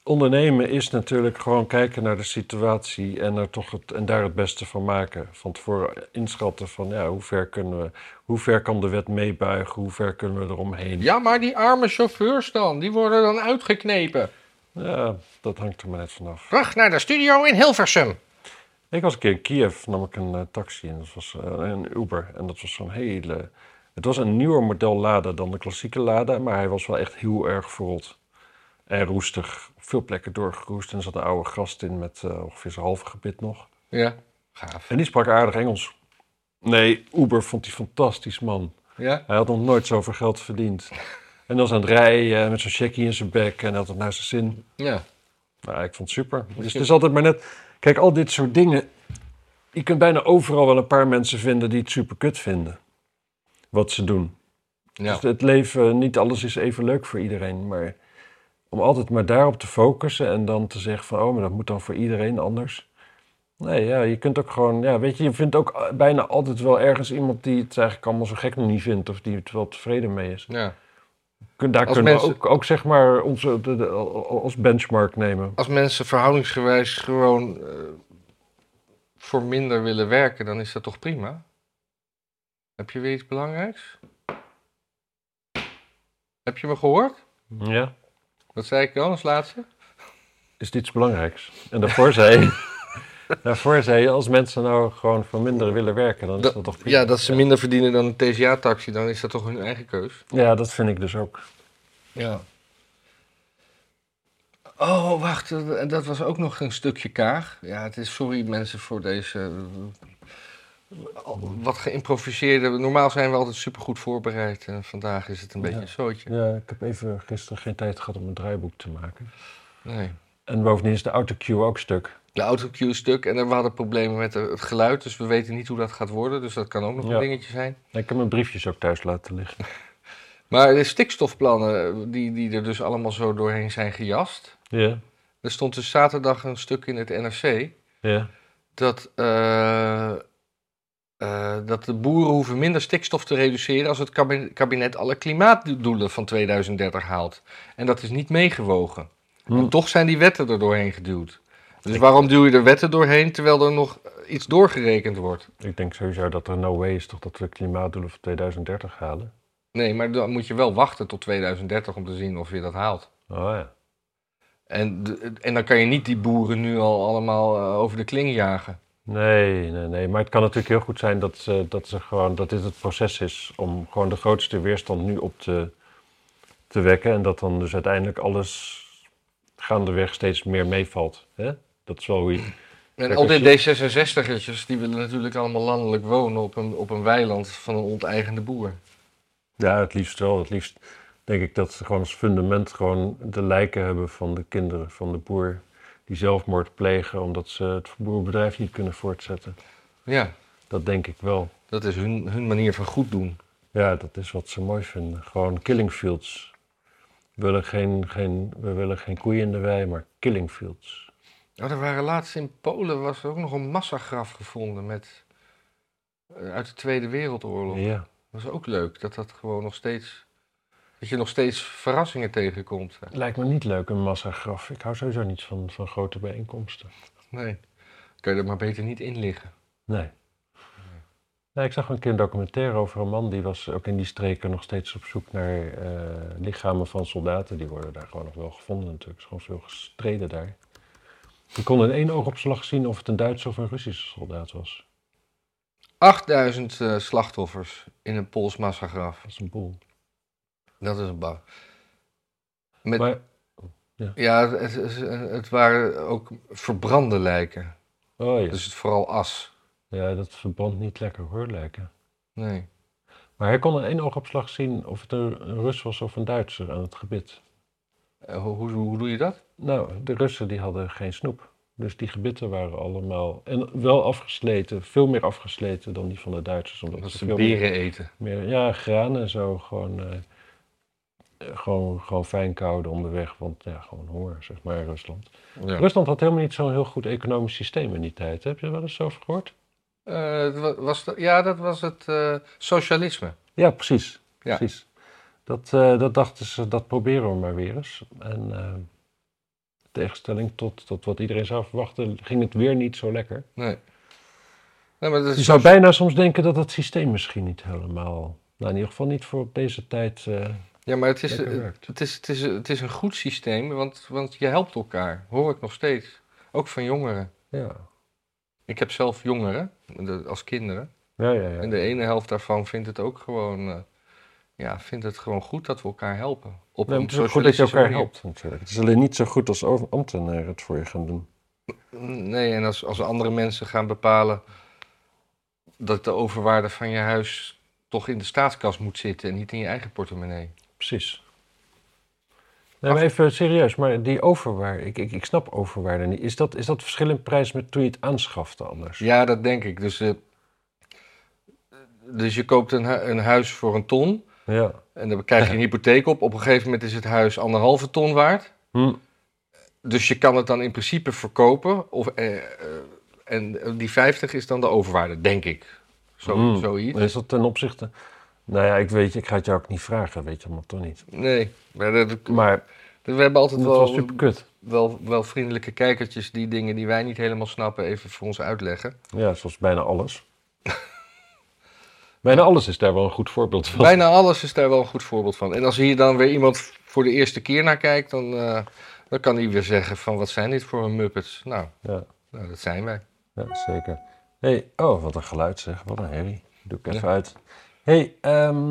Speaker 1: ondernemen is natuurlijk gewoon kijken naar de situatie en, er toch het, en daar het beste van maken. Van tevoren inschatten van ja, hoe ver kunnen we, hoe ver kan de wet meebuigen, hoe ver kunnen we eromheen.
Speaker 2: Ja, maar die arme chauffeurs dan, die worden dan uitgeknepen.
Speaker 1: Ja, dat hangt er maar net vanaf.
Speaker 2: Terug naar de studio in Hilversum.
Speaker 1: Ik was een keer in Kiev, nam ik een eh, taxi en dat was eh, een Uber. En dat was zo'n hele. Het was een nieuwer model Lada dan de klassieke Lada, maar hij was wel echt heel erg verrot. En roestig. Op veel plekken doorgeroest. En er zat een oude gast in met eh, ongeveer zijn halve gebit nog.
Speaker 2: Ja, gaaf.
Speaker 1: En die sprak aardig Engels. Nee, Uber vond hij fantastisch, man.
Speaker 2: Ja,
Speaker 1: Hij had nog nooit zoveel geld verdiend. En dan was aan het rijden eh, met zo'n checkie in zijn bek en hij had het naar zijn zin.
Speaker 2: ja.
Speaker 1: Nou, ik vond het super. Dus het is altijd maar net... Kijk, al dit soort dingen... Je kunt bijna overal wel een paar mensen vinden die het super kut vinden. Wat ze doen.
Speaker 2: ja.
Speaker 1: Dus het leven, niet alles is even leuk voor iedereen. Maar om altijd maar daarop te focussen en dan te zeggen van... Oh, maar dat moet dan voor iedereen anders. Nee, ja, je kunt ook gewoon... Ja, weet je, je vindt ook eh, bijna altijd wel ergens iemand die het eigenlijk allemaal zo gek nog niet vindt. Of die het wel tevreden mee is.
Speaker 2: ja.
Speaker 1: Kun- Daar
Speaker 2: Als
Speaker 1: kunnen we
Speaker 2: mensen-
Speaker 1: ook, ook zeg maar onze, de- de- als benchmark nemen.
Speaker 2: Als mensen verhoudingsgewijs gewoon eh, voor minder willen werken, dan is dat toch prima? Heb je weer iets belangrijks? Heb je me gehoord?
Speaker 1: Ja.
Speaker 2: Wat zei ik dan als laatste?
Speaker 1: is niets belangrijks. En daarvoor zei, daarvoor zei je, als mensen nou gewoon voor minder willen werken, dan is dat,
Speaker 2: Dat-
Speaker 1: toch prima.
Speaker 2: Ja, dat ze minder verdienen dan een TCA-taxi, dan is dat toch hun eigen keus?
Speaker 1: Ja, dat vind ik dus ook.
Speaker 2: Ja. Oh, wacht, eh, en dat was ook nog een stukje kaag. Ja, het is sorry mensen voor deze eh, al- wat geïmproviseerde. Normaal zijn we altijd supergoed voorbereid en vandaag is het een beetje
Speaker 1: Ja.
Speaker 2: een zootje.
Speaker 1: Ja, ik heb even gisteren geen tijd gehad om een draaiboek te maken.
Speaker 2: Nee.
Speaker 1: En bovendien is de autocue ook stuk.
Speaker 2: De autocue stuk en we hadden problemen met eh, het geluid, dus we weten niet hoe dat gaat worden, dus dat kan ook nog
Speaker 1: Ja.
Speaker 2: een dingetje zijn.
Speaker 1: Ik heb mijn briefjes ook thuis laten liggen.
Speaker 2: Maar de stikstofplannen eh, die, die er dus allemaal zo doorheen zijn gejast.
Speaker 1: Ja,
Speaker 2: Er stond dus zaterdag een stuk in het NRC.
Speaker 1: ja.
Speaker 2: dat, eh, eh, dat de boeren hoeven minder stikstof te reduceren als het kabi- kabinet alle klimaatdoelen van 2030 haalt. En dat is niet meegewogen.
Speaker 1: Hm.
Speaker 2: En toch zijn die wetten er doorheen geduwd. Dus waarom duw je er wetten doorheen terwijl er nog iets doorgerekend wordt?
Speaker 1: Ik denk sowieso dat er no way is toch dat we klimaatdoelen voor 2030 halen.
Speaker 2: Nee, maar dan moet je wel wachten tot 2030 om te zien of je dat haalt.
Speaker 1: Oh ja.
Speaker 2: En, de- en dan kan je niet die boeren nu al allemaal eh, over de kling jagen.
Speaker 1: Nee, nee, nee. Maar het kan natuurlijk heel goed zijn dat, ze, dat, ze gewoon, dat dit het proces is om gewoon de grootste weerstand nu op te, te wekken. En dat dan dus uiteindelijk alles gaandeweg steeds meer meevalt. Hè? Dat is wel hoe je...
Speaker 2: En
Speaker 1: Kijk,
Speaker 2: al
Speaker 1: als
Speaker 2: die D66'ertjes, die willen natuurlijk allemaal landelijk wonen op een, op een weiland van een onteigende boer.
Speaker 1: Ja, het liefst wel. Het liefst denk ik dat ze gewoon als fundament gewoon de lijken hebben van de kinderen, van de boer. Die zelfmoord plegen omdat ze het boerenbedrijf niet kunnen voortzetten.
Speaker 2: Ja,
Speaker 1: Dat denk ik wel.
Speaker 2: Dat is hun, hun manier van goed doen.
Speaker 1: Ja, dat is wat ze mooi vinden. Gewoon killing fields. We willen geen, geen, we willen geen koeien in de wei, maar killing fields.
Speaker 2: Nou, er waren laatst in Polen was er ook nog een massagraf gevonden met, eh, uit de Tweede Wereldoorlog.
Speaker 1: Ja.
Speaker 2: Dat is ook leuk, dat dat gewoon nog steeds... Dat je nog steeds verrassingen tegenkomt.
Speaker 1: Lijkt me niet leuk, een massagraf. Ik hou sowieso niet van, van grote bijeenkomsten.
Speaker 2: Nee, kan je er maar beter niet in liggen.
Speaker 1: Nee. nee. Ik zag een keer een documentaire over een man die was ook in die streken nog steeds op zoek naar eh, lichamen van soldaten. Die worden daar gewoon nog wel gevonden natuurlijk. Er is gewoon veel gestreden daar. Je kon in één oogopslag zien of het een Duitse of een Russische soldaat was.
Speaker 2: 8000 eh, slachtoffers in een Pools massagraf.
Speaker 1: Dat is een boel.
Speaker 2: Dat is een bang. Met,
Speaker 1: Maar,
Speaker 2: Ja, het, het- het waren ook verbrande lijken.
Speaker 1: oh ja.
Speaker 2: Dus het vooral as.
Speaker 1: ja, dat verband niet lekker hoor, lijken.
Speaker 2: Nee.
Speaker 1: Maar hij kon in één oogopslag zien of het een een Rus was of een Duitser aan het gebit.
Speaker 2: Eh, Hoe, hoe, hoe doe je dat?
Speaker 1: Nou, de Russen die hadden geen snoep. Dus die gebitten waren allemaal. En wel afgesleten, veel meer afgesleten dan die van de Duitsers. Omdat
Speaker 2: Dat
Speaker 1: ze
Speaker 2: ze
Speaker 1: veel meer,
Speaker 2: beren eten.
Speaker 1: meer- Ja, granen en zo. Gewoon, eh, eh, gewoon, gewoon fijn kouden onderweg. Want ja, gewoon honger, zeg maar, in Rusland.
Speaker 2: Ja.
Speaker 1: Rusland had helemaal niet zo'n heel goed economisch systeem in die tijd. Heb je er wel eens over gehoord?
Speaker 2: Eh, het wa- was dat- ja, dat was het eh, socialisme.
Speaker 1: Ja, precies.
Speaker 2: Ja.
Speaker 1: precies. Dat, eh, dat dachten ze, dat proberen we maar weer eens. En eh, in tegenstelling tot, tot wat iedereen zou verwachten, ging het weer niet zo lekker.
Speaker 2: Nee. nee maar dat
Speaker 1: Je
Speaker 2: is
Speaker 1: zou
Speaker 2: soci-
Speaker 1: bijna soms denken dat het systeem misschien niet helemaal, nou in ieder geval niet voor op deze tijd eh,
Speaker 2: Ja, maar het is,
Speaker 1: lekker
Speaker 2: eh,
Speaker 1: werkt.
Speaker 2: het, is, het, is, het is een goed systeem, want, want je helpt elkaar. Hoor ik nog steeds. Ook van jongeren.
Speaker 1: Ja,
Speaker 2: Ik heb zelf jongeren, de- als kinderen.
Speaker 1: ja, ja. ja.
Speaker 2: En de ene helft daarvan vindt het ook gewoon, eh, ja, vindt het gewoon goed dat we elkaar helpen. Op
Speaker 1: Nee,
Speaker 2: een
Speaker 1: het is ook goed dat je
Speaker 2: socialistische
Speaker 1: elkaar
Speaker 2: manier.
Speaker 1: helpt natuurlijk. Het is alleen niet zo goed als over- ambtenaren het voor je gaan doen.
Speaker 2: Nee, en als, als andere mensen gaan bepalen dat de overwaarde van je huis toch in de staatskas moet zitten en niet in je eigen portemonnee.
Speaker 1: Precies. Nee, maar even serieus, maar die overwaarde, ik, ik, ik snap overwaarde niet. Is dat, is dat verschil in prijs met toen je het aanschafte anders?
Speaker 2: Ja, dat denk ik. Dus, eh, dus je koopt een, hu- een huis voor een ton
Speaker 1: Ja.
Speaker 2: en dan krijg je
Speaker 1: <laughs>
Speaker 2: een hypotheek op. Op een gegeven moment is het huis anderhalve ton waard.
Speaker 1: Hm.
Speaker 2: Dus je kan het dan in principe verkopen. Of, eh, eh, en die 50 is dan de overwaarde, denk ik. Zo,
Speaker 1: Mm.
Speaker 2: Zoiets.
Speaker 1: Is dat ten opzichte... Nou ja, ik weet, je, ik ga het jou ook niet vragen, weet je allemaal toch niet.
Speaker 2: Nee, maar dat,
Speaker 1: Maar
Speaker 2: we hebben altijd
Speaker 1: het
Speaker 2: wel...
Speaker 1: was super kut.
Speaker 2: wel, wel vriendelijke kijkertjes die dingen die wij niet helemaal snappen even voor ons uitleggen.
Speaker 1: Ja, zoals bijna alles. <laughs> bijna alles is daar wel een goed voorbeeld van.
Speaker 2: Bijna alles is daar wel een goed voorbeeld van. En als hier dan weer iemand voor de eerste keer naar kijkt, dan, eh, dan kan hij weer zeggen van wat zijn dit voor een muppets? Nou,
Speaker 1: Ja,
Speaker 2: nou dat zijn wij.
Speaker 1: ja, zeker. Hey, oh, wat een geluid zeg. Wat een herrie. Doe ik even uit. hey, ehm,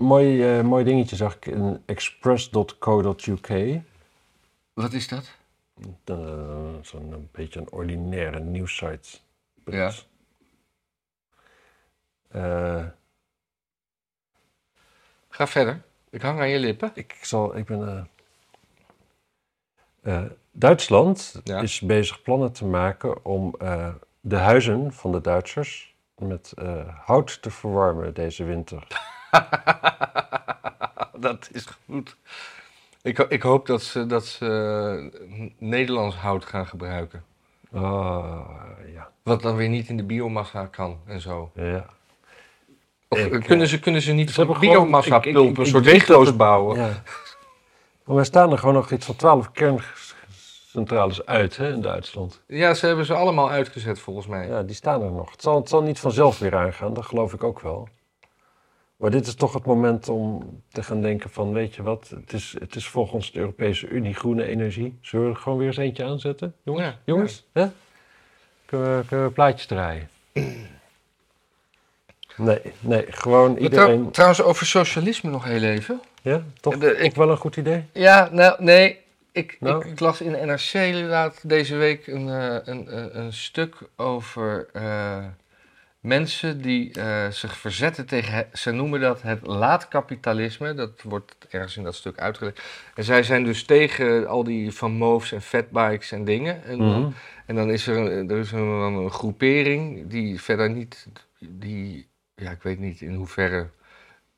Speaker 1: mooi, eh, mooi dingetje zag ik in express.co.uk.
Speaker 2: Wat is dat?
Speaker 1: Eh, Zo'n een beetje een ordinaire nieuwssite.
Speaker 2: Ja.
Speaker 1: Eh,
Speaker 2: Ga verder. Ik hang aan je lippen.
Speaker 1: Ik zal, ik ben. eh, eh, Duitsland
Speaker 2: Ja.
Speaker 1: is bezig plannen te maken om eh, de huizen van de Duitsers met eh, hout te verwarmen deze winter. Ah,
Speaker 2: Dat is goed. Ik, ho- ik hoop dat ze, dat ze eh, Nederlands hout gaan gebruiken.
Speaker 1: Ah, ja.
Speaker 2: Wat dan weer niet in de biomassa kan en zo.
Speaker 1: ja.
Speaker 2: Of
Speaker 1: Ik,
Speaker 2: eh,
Speaker 1: eh,
Speaker 2: kunnen, ze, kunnen ze niet
Speaker 1: ze
Speaker 2: van
Speaker 1: hebben gewoon-
Speaker 2: biomassa
Speaker 1: ik- ik- ik-
Speaker 2: pulpen, een
Speaker 1: ik
Speaker 2: soort
Speaker 1: denk dat
Speaker 2: iglo's
Speaker 1: het-
Speaker 2: bouwen?
Speaker 1: ja. Maar er staan er gewoon nog iets van twaalf kerncentrales uit hè, in Duitsland.
Speaker 2: Ja, ze hebben ze allemaal uitgezet volgens mij.
Speaker 1: Ja, die staan er nog. Het zal, het zal niet vanzelf weer aangaan, dat geloof ik ook wel. Maar dit is toch het moment om te gaan denken van, weet je wat, het is, het is volgens de Europese Unie groene energie. Zullen we er gewoon weer eens eentje aanzetten? Jongens,
Speaker 2: Ja,
Speaker 1: jongens, hè? Kunnen we, kunnen we plaatjes draaien? Nee, nee, gewoon
Speaker 2: Maar trouw-
Speaker 1: iedereen.
Speaker 2: trouwens, over socialisme nog heel even.
Speaker 1: Ja, toch?
Speaker 2: De- ik-
Speaker 1: Ook wel een goed idee?
Speaker 2: Ja, nou, nee. Ik,
Speaker 1: Nou?
Speaker 2: ik, ik las in NRC inderdaad deze week een, eh, een, eh, een stuk over eh, mensen die eh, zich verzetten tegen, het- ze noemen dat het laatkapitalisme. Dat wordt ergens in dat stuk uitgelegd. En zij zijn dus tegen al die van Moves en fatbikes en dingen. En,
Speaker 1: Mhm.
Speaker 2: En dan is er, een, er is een, dan een groepering die verder niet, die ja, ik weet niet in hoeverre.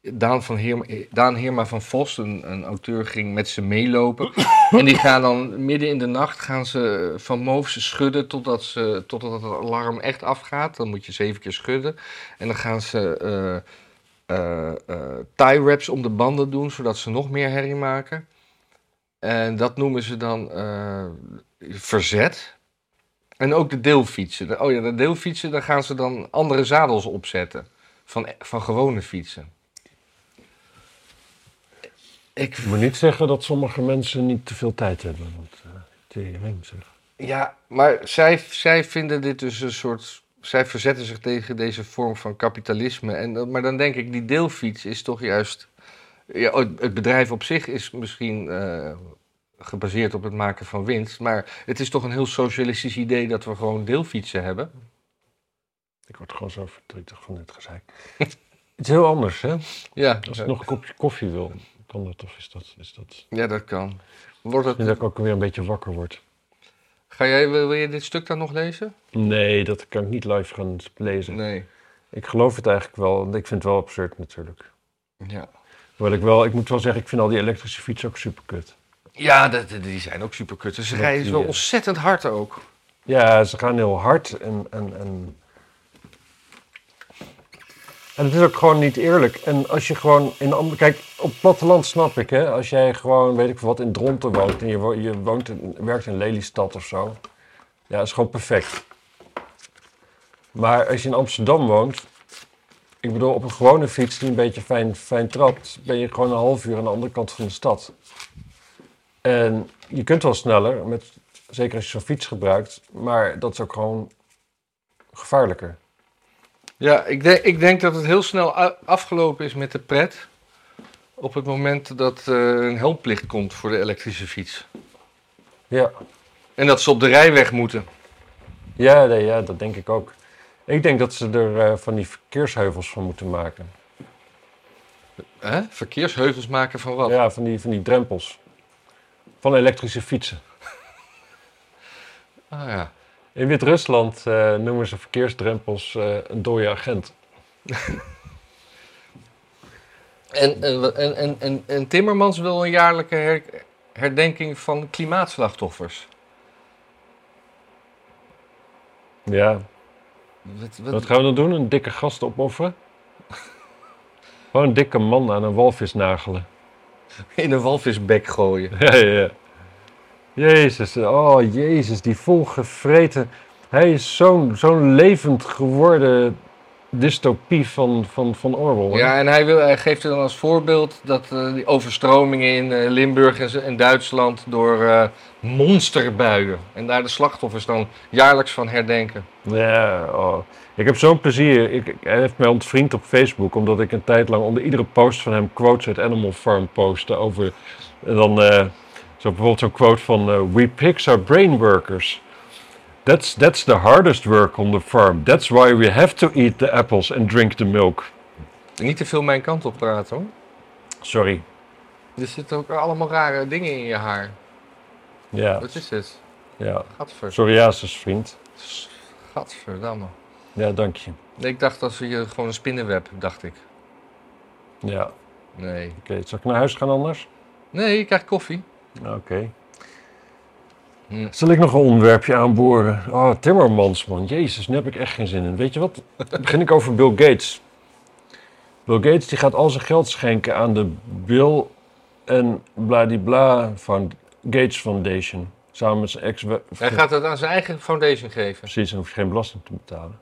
Speaker 2: Daan, van Heerma, Daan Heerma van Vos, een, een auteur, ging met ze meelopen. en die gaan dan midden in de nacht gaan ze van Moofs schudden totdat, ze, totdat het alarm echt afgaat. Dan moet je zeven keer schudden. En dan gaan ze eh, eh, eh, tie wraps om de banden doen, zodat ze nog meer herrie maken. En dat noemen ze dan eh, verzet. En ook de deelfietsen. De- Oh ja, de deelfietsen, daar gaan ze dan andere zadels opzetten. Van, van gewone fietsen. Ik,
Speaker 1: Ik moet niet zeggen dat sommige mensen niet te veel tijd hebben. Want eh tering zeg.
Speaker 2: ja, maar zij, zij vinden dit dus een soort... Zij verzetten zich tegen deze vorm van kapitalisme. En, dat- maar dan denk ik, die deelfiets is toch juist... Ja, oh, het het bedrijf op zich is misschien eh, gebaseerd op het maken van winst. Maar het is toch een heel socialistisch idee dat we gewoon deelfietsen hebben.
Speaker 1: Ik word gewoon zo verdrietig van dit gezeik.
Speaker 2: <laughs>
Speaker 1: Het is heel anders, hè?
Speaker 2: Ja,
Speaker 1: Als ik nog een kopje koffie wil, kan dat of is dat... Is dat...
Speaker 2: ja dat kan. Wordt
Speaker 1: Ik vind
Speaker 2: het,
Speaker 1: dat ik ook weer een beetje wakker word.
Speaker 2: ga jij, wil, wil je dit stuk dan nog lezen?
Speaker 1: Nee, dat kan ik niet live gaan lezen.
Speaker 2: Nee.
Speaker 1: Ik geloof het eigenlijk wel. want Ik vind het wel absurd natuurlijk.
Speaker 2: Ja,
Speaker 1: Hoewel ik wel... Ik moet wel zeggen, ik vind al die elektrische fietsen ook super kut.
Speaker 2: ja dat- dat- die zijn ook super kut. Ze
Speaker 1: Dat
Speaker 2: rijden
Speaker 1: die,
Speaker 2: wel
Speaker 1: eh,
Speaker 2: ontzettend hard ook.
Speaker 1: Ja, ze gaan heel hard en... en, en... En het is ook gewoon niet eerlijk. En als je gewoon in ander- Kijk, op het platteland snap ik, hè. Als jij gewoon, weet ik veel wat, in Dronten woont... en je, wo- je woont in, werkt in Lelystad of zo... Ja, is gewoon perfect. Maar als je in Amsterdam woont... Ik bedoel, op een gewone fiets die een beetje fijn, fijn trapt... ben je gewoon een half uur aan de andere kant van de stad. En je kunt wel sneller, met, zeker als je zo'n fiets gebruikt... maar dat is ook gewoon gevaarlijker.
Speaker 2: Ja, ik denk, ik denk dat het heel snel a- afgelopen is met de pret. Op het moment dat eh een helmplicht komt voor de elektrische fiets.
Speaker 1: Ja,
Speaker 2: En dat ze op de rijweg moeten.
Speaker 1: ja, nee, ja dat denk ik ook. Ik denk dat ze er eh, van die verkeersheuvels van moeten maken.
Speaker 2: Hè? Verkeersheuvels maken van wat?
Speaker 1: Ja, van die, van die drempels. Van elektrische fietsen.
Speaker 2: Ah ja.
Speaker 1: In Wit-Rusland eh, noemen ze verkeersdrempels eh, een dode agent.
Speaker 2: En, en, wa- en, en, en, en Timmermans wil een jaarlijke her- herdenking van klimaatslachtoffers.
Speaker 1: Ja,
Speaker 2: Wat,
Speaker 1: wat gaan we dan doen? Een dikke gast opofferen? <laughs> Gewoon een dikke man aan een walvis nagelen.
Speaker 2: In een walvisbek gooien.
Speaker 1: Ja, ja, ja. Jezus, oh Jezus, die volgevreten. Hij is zo'n zo'n levend geworden dystopie van, van, van Orwell. hè?
Speaker 2: Ja, en hij, wil, hij geeft er dan als voorbeeld dat eh, die overstromingen in eh, Limburg en, Z- en Duitsland door eh, monsterbuien. En daar de slachtoffers dan jaarlijks van herdenken.
Speaker 1: Ja, oh. Ik heb zo'n plezier. Ik, ik- hij heeft mij ontvriend op Facebook, omdat ik een tijd lang onder iedere post van hem quotes uit Animal Farm postte over. En dan eh, zo bijvoorbeeld zo'n quote van eh, We pigs are brain workers. That's, that's the hardest work on the farm. That's why we have to eat the apples and drink the milk.
Speaker 2: Niet te veel mijn kant op praten hoor.
Speaker 1: Sorry.
Speaker 2: Er zitten ook allemaal rare dingen in je haar.
Speaker 1: Ja,
Speaker 2: Wat is dit?
Speaker 1: ja.
Speaker 2: Gadver.
Speaker 1: Psoriasis, vriend.
Speaker 2: Gadverdamme.
Speaker 1: Ja, dank je.
Speaker 2: Nee, ik dacht dat ze je gewoon een spinnenweb, dacht ik.
Speaker 1: Ja, oké.
Speaker 2: Nee.
Speaker 1: Zal ik naar huis gaan anders?
Speaker 2: Nee, je krijgt koffie.
Speaker 1: Oké.
Speaker 2: Hm.
Speaker 1: Zal ik nog een onderwerpje aanboren? Oh, Timmermans, man. Jezus, nu heb ik echt geen zin in. Weet je wat? Dan begin ik over Bill Gates. Bill Gates die gaat al zijn geld schenken aan de Bill en Bladibla van Gates Foundation. Samen met zijn ex...
Speaker 2: Hij gaat het aan zijn eigen foundation geven.
Speaker 1: Precies, en hoeft geen belasting te betalen.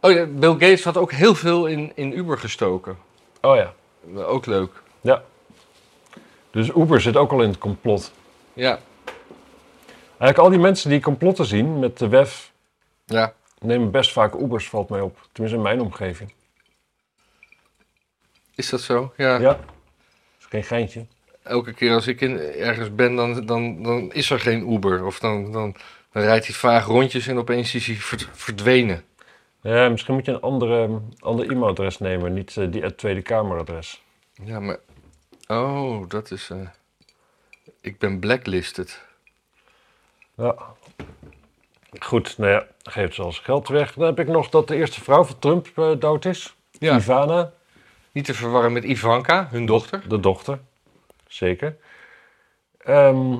Speaker 2: Oh ja, Bill Gates had ook heel veel in, in Uber gestoken.
Speaker 1: Oh ja.
Speaker 2: Ook leuk.
Speaker 1: Ja. Dus Uber zit ook al in het complot.
Speaker 2: Ja.
Speaker 1: Eigenlijk al die mensen die complotten zien met de WEF
Speaker 2: Ja.
Speaker 1: nemen best vaak Ubers, valt mij op. Tenminste in mijn omgeving.
Speaker 2: Is dat zo? Ja.
Speaker 1: Ja. Is geen geintje.
Speaker 2: Elke keer als ik in, ergens ben, dan, dan, dan is er geen Uber. Of dan, dan, dan rijdt hij vaag rondjes en opeens is hij verd- verdwenen.
Speaker 1: Ja, misschien moet je een andere, ander e-mailadres nemen, niet eh, die uit Tweede Kameradres.
Speaker 2: Ja, maar... Oh, dat is... eh, ik ben blacklisted.
Speaker 1: Ja. Goed, nou ja, geeft ze als geld weg. Dan heb ik nog dat de eerste vrouw van Trump eh, dood is.
Speaker 2: Ja.
Speaker 1: Ivana,
Speaker 2: Niet te verwarren met Ivanka, hun dochter.
Speaker 1: de dochter. Zeker. Ehm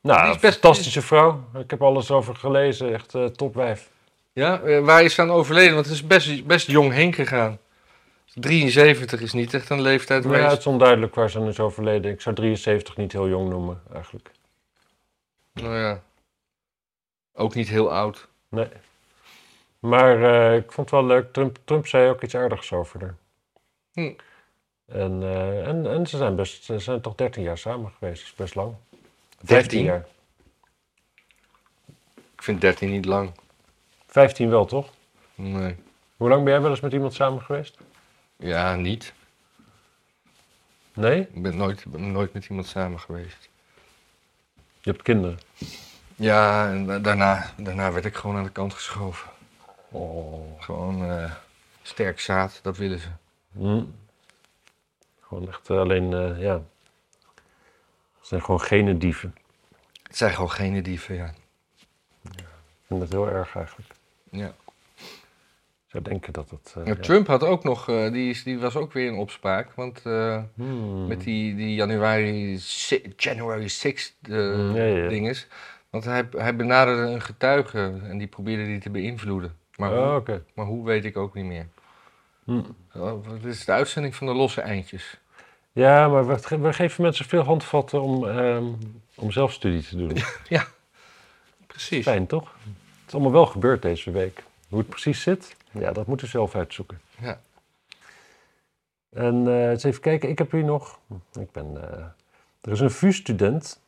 Speaker 1: nou,
Speaker 2: Die is best-
Speaker 1: fantastische vrouw. Ik heb alles over gelezen. Echt eh, topwijf.
Speaker 2: Ja, eh, waar is ze aan overleden? Want het is best, best jong heen gegaan. 73 is niet echt een leeftijd
Speaker 1: Maar ja,
Speaker 2: geweest.
Speaker 1: het is onduidelijk waar ze aan is overleden. Ik zou 73 niet heel jong noemen, eigenlijk.
Speaker 2: Nou ja. Ook niet heel oud.
Speaker 1: Nee. Maar eh, ik vond het wel leuk. Trump, Trump zei ook iets aardigs over haar.
Speaker 2: Hm.
Speaker 1: En, eh, en, en ze zijn, best, ze zijn toch 13 jaar samen geweest. Dat is best lang.
Speaker 2: 13?
Speaker 1: jaar.
Speaker 2: Ik vind 13 niet lang.
Speaker 1: 15 wel, toch?
Speaker 2: Nee.
Speaker 1: Hoe lang ben jij wel eens met iemand samen geweest?
Speaker 2: Ja, niet.
Speaker 1: Nee?
Speaker 2: Ik ben nooit, ben nooit met iemand samen geweest.
Speaker 1: Je hebt kinderen.
Speaker 2: Ja, en da- daarna, daarna werd ik gewoon aan de kant geschoven.
Speaker 1: Oh.
Speaker 2: Gewoon eh, sterk zaad, dat willen ze.
Speaker 1: Hm. Gewoon echt eh, alleen, eh, ja. Ze zijn gewoon genendieven.
Speaker 2: Het zijn gewoon genendieven, ja.
Speaker 1: Ik vind dat heel erg eigenlijk.
Speaker 2: ja.
Speaker 1: Ik zou denken dat het... eh,
Speaker 2: Nou,
Speaker 1: ja.
Speaker 2: Trump had ook nog, eh, die, is, die was ook weer in opspraak. Want eh,
Speaker 1: Hmm.
Speaker 2: met die, die januari, si- January 6
Speaker 1: Mm, ja, ja.
Speaker 2: dinges. Want hij, hij benaderde een getuige en die probeerde die te beïnvloeden. Maar,
Speaker 1: Oh, oké.
Speaker 2: hoe, maar hoe weet ik ook niet meer.
Speaker 1: Hm.
Speaker 2: Oh, Dit is de uitzending van de losse eindjes.
Speaker 1: Ja, maar we, ge- we geven mensen veel handvatten om, ehm, om zelfstudie te doen.
Speaker 2: Precies.
Speaker 1: Fijn, toch? Het is allemaal wel gebeurd deze week. Hoe het precies zit, ja, dat moeten we zelf uitzoeken.
Speaker 2: Ja.
Speaker 1: En eh, eens even kijken, ik heb hier nog... Ik ben, eh, er is een VU-student.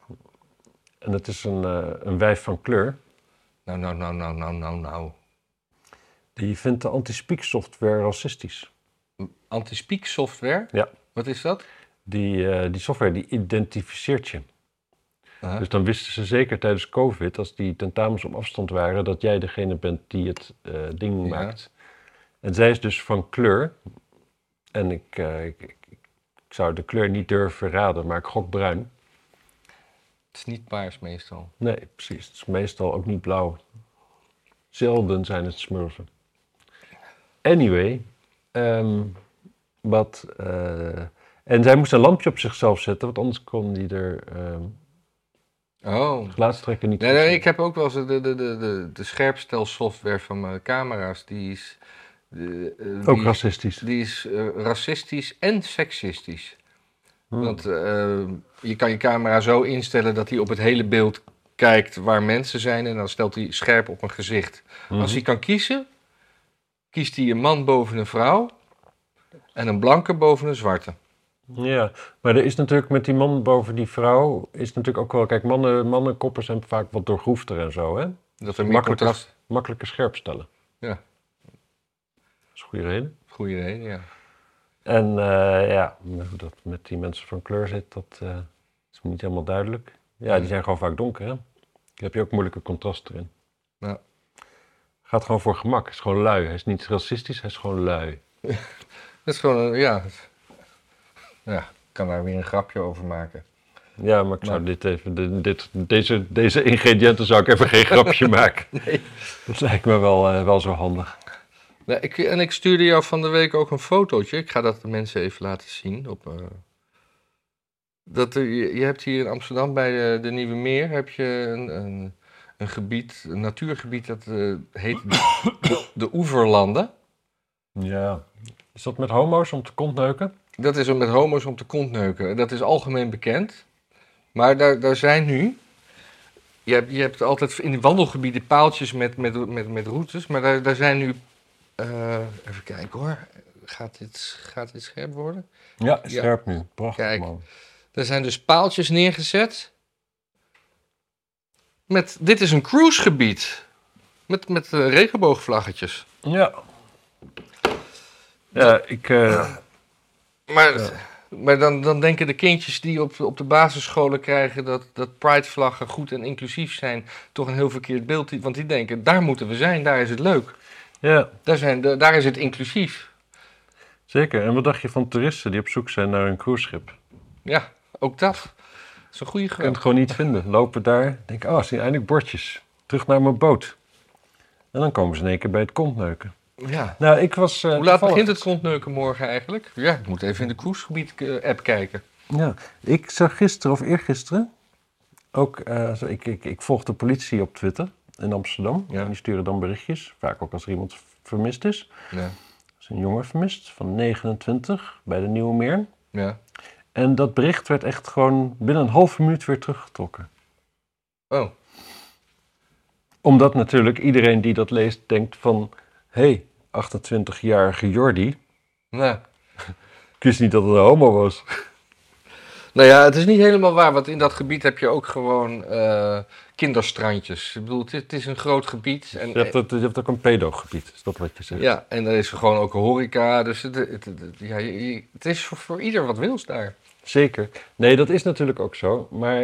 Speaker 1: En het is een, eh, een wijf van kleur.
Speaker 2: Nou, nou, nou, nou, nou, nou, nou.
Speaker 1: Die vindt de anti-speak software racistisch.
Speaker 2: Antispeak software?
Speaker 1: Ja.
Speaker 2: Wat is dat?
Speaker 1: Die, eh, die software die identificeert je.
Speaker 2: Huh?
Speaker 1: Dus dan wisten ze zeker tijdens COVID, als die tentamens op afstand waren, dat jij degene bent die het eh, ding
Speaker 2: Ja.
Speaker 1: maakt. En zij is dus van kleur. En ik, eh, ik, ik- ik zou de kleur niet durven raden, maar ik gok bruin.
Speaker 2: Het is niet paars meestal.
Speaker 1: Nee, precies. Het is meestal ook niet blauw. Zelden zijn het smurfen. Anyway, ehm, wat. eh, en zij moest een lampje op zichzelf zetten, want anders kon die er ehm
Speaker 2: Oh.
Speaker 1: gelaatstrekker niet
Speaker 2: Nee,
Speaker 1: goed
Speaker 2: nee,
Speaker 1: zien.
Speaker 2: ik heb ook wel eens de, de, de, de, de scherpstelsoftware van mijn camera's. Die is, de, eh, die
Speaker 1: Ook
Speaker 2: is-
Speaker 1: racistisch.
Speaker 2: Die is eh, racistisch en seksistisch.
Speaker 1: Hmm.
Speaker 2: Want eh, je kan je camera zo instellen dat hij op het hele beeld kijkt waar mensen zijn. En dan stelt hij scherp op een gezicht. Als hij kan kiezen, kiest hij een man boven een vrouw. En een blanke boven een zwarte.
Speaker 1: Ja, maar er is natuurlijk met die man boven die vrouw, is natuurlijk ook wel, kijk, mannen, mannenkoppen zijn vaak wat doorgroefder en zo, hè?
Speaker 2: Dat er meer
Speaker 1: Makkelijker,
Speaker 2: contrast...
Speaker 1: makkelijker scherp stellen.
Speaker 2: Ja.
Speaker 1: Dat is een goede reden.
Speaker 2: Goeie reden, ja.
Speaker 1: En eh, ja, hoe dat met die mensen van kleur zit, dat eh, is me niet helemaal duidelijk. Ja, die zijn gewoon vaak donker, hè? Daar heb je ook moeilijke contrasten in.
Speaker 2: Ja.
Speaker 1: Gaat gewoon voor gemak, is gewoon lui. Hij is niet racistisch, hij is gewoon lui.
Speaker 2: Dat is gewoon een... Ja. ja, ik kan daar weer een grapje over maken.
Speaker 1: Ja, maar ik zou dit even, de- dit, deze, deze ingrediënten zou ik even geen grapje maken.
Speaker 2: Nee.
Speaker 1: Dat lijkt me wel, eh, wel zo handig.
Speaker 2: Nou, ik, en ik stuurde jou van de week ook een fotootje. Ik ga dat de mensen even laten zien. Op, eh, dat er- je, je hebt hier in Amsterdam bij de, de Nieuwe Meer heb je een, een, een gebied, een natuurgebied dat eh, heet de, de Oeverlanden.
Speaker 1: Ja. Is dat met homo's om te kontneuken?
Speaker 2: Dat is om met homo's om te kontneuken. Dat is algemeen bekend. Maar daar, daar zijn nu. Je hebt, je hebt altijd in die wandelgebieden paaltjes met, met, met, met routes. Maar daar, daar zijn nu. eh, even kijken hoor. Gaat dit, gaat dit scherp worden?
Speaker 1: Ja,
Speaker 2: Ja.
Speaker 1: scherp nu. Prachtig,
Speaker 2: Kijk.
Speaker 1: man.
Speaker 2: Er zijn dus paaltjes neergezet. Met, dit is een cruisegebied. Met, met eh, regenboogvlaggetjes.
Speaker 1: Ja. Ja, ik... eh,
Speaker 2: Maar, maar dan, dan denken de kindjes die op, op de basisscholen krijgen dat, dat Pride-vlaggen goed en inclusief zijn, toch een heel verkeerd beeld. Want die denken, daar moeten we zijn, daar is het leuk.
Speaker 1: ja,
Speaker 2: Daar, zijn, de- daar is het inclusief.
Speaker 1: zeker. En wat dacht je van toeristen die op zoek zijn naar een cruiseschip? Je
Speaker 2: Ja, ook dat. Dat is een goede
Speaker 1: kunt
Speaker 2: grap.
Speaker 1: het gewoon niet vinden. Lopen daar, denken, oh, er zijn eindelijk bordjes. Terug naar mijn boot. En dan komen ze in één keer bij het kontneuken.
Speaker 2: Ja.
Speaker 1: Nou, ik was. eh,
Speaker 2: Hoe laat
Speaker 1: toevallig-
Speaker 2: begint het kontneuken morgen eigenlijk? Ja, ik moet even in de cruisegebied-app kijken.
Speaker 1: Ja, ik zag gisteren of eergisteren ook. eh, zo- ik, ik, ik volg de politie op Twitter in Amsterdam.
Speaker 2: Ja.
Speaker 1: En die sturen dan berichtjes. Vaak ook als er iemand vermist is.
Speaker 2: Ja.
Speaker 1: Er is een jongen vermist van 29 bij de Nieuwe Meer.
Speaker 2: ja.
Speaker 1: En dat bericht werd echt gewoon binnen een halve minuut weer teruggetrokken.
Speaker 2: Oh,
Speaker 1: Omdat natuurlijk iedereen die dat leest denkt van... Hé, hey, 28-jarige Jordi.
Speaker 2: nou.
Speaker 1: Ik wist niet dat het een homo was.
Speaker 2: Nou ja, het is niet helemaal waar, want in dat gebied heb je ook gewoon eh, kinderstrandjes. Ik bedoel, het is, het is een groot gebied. En,
Speaker 1: Je hebt, dat, je hebt ook een pedogebied, is dat wat je zegt?
Speaker 2: ja, en er is gewoon ook een horeca. Dus het, het, het- het- ja, je- je- het is voor, voor ieder wat wils daar.
Speaker 1: Zeker. Nee, dat is natuurlijk ook zo. Maar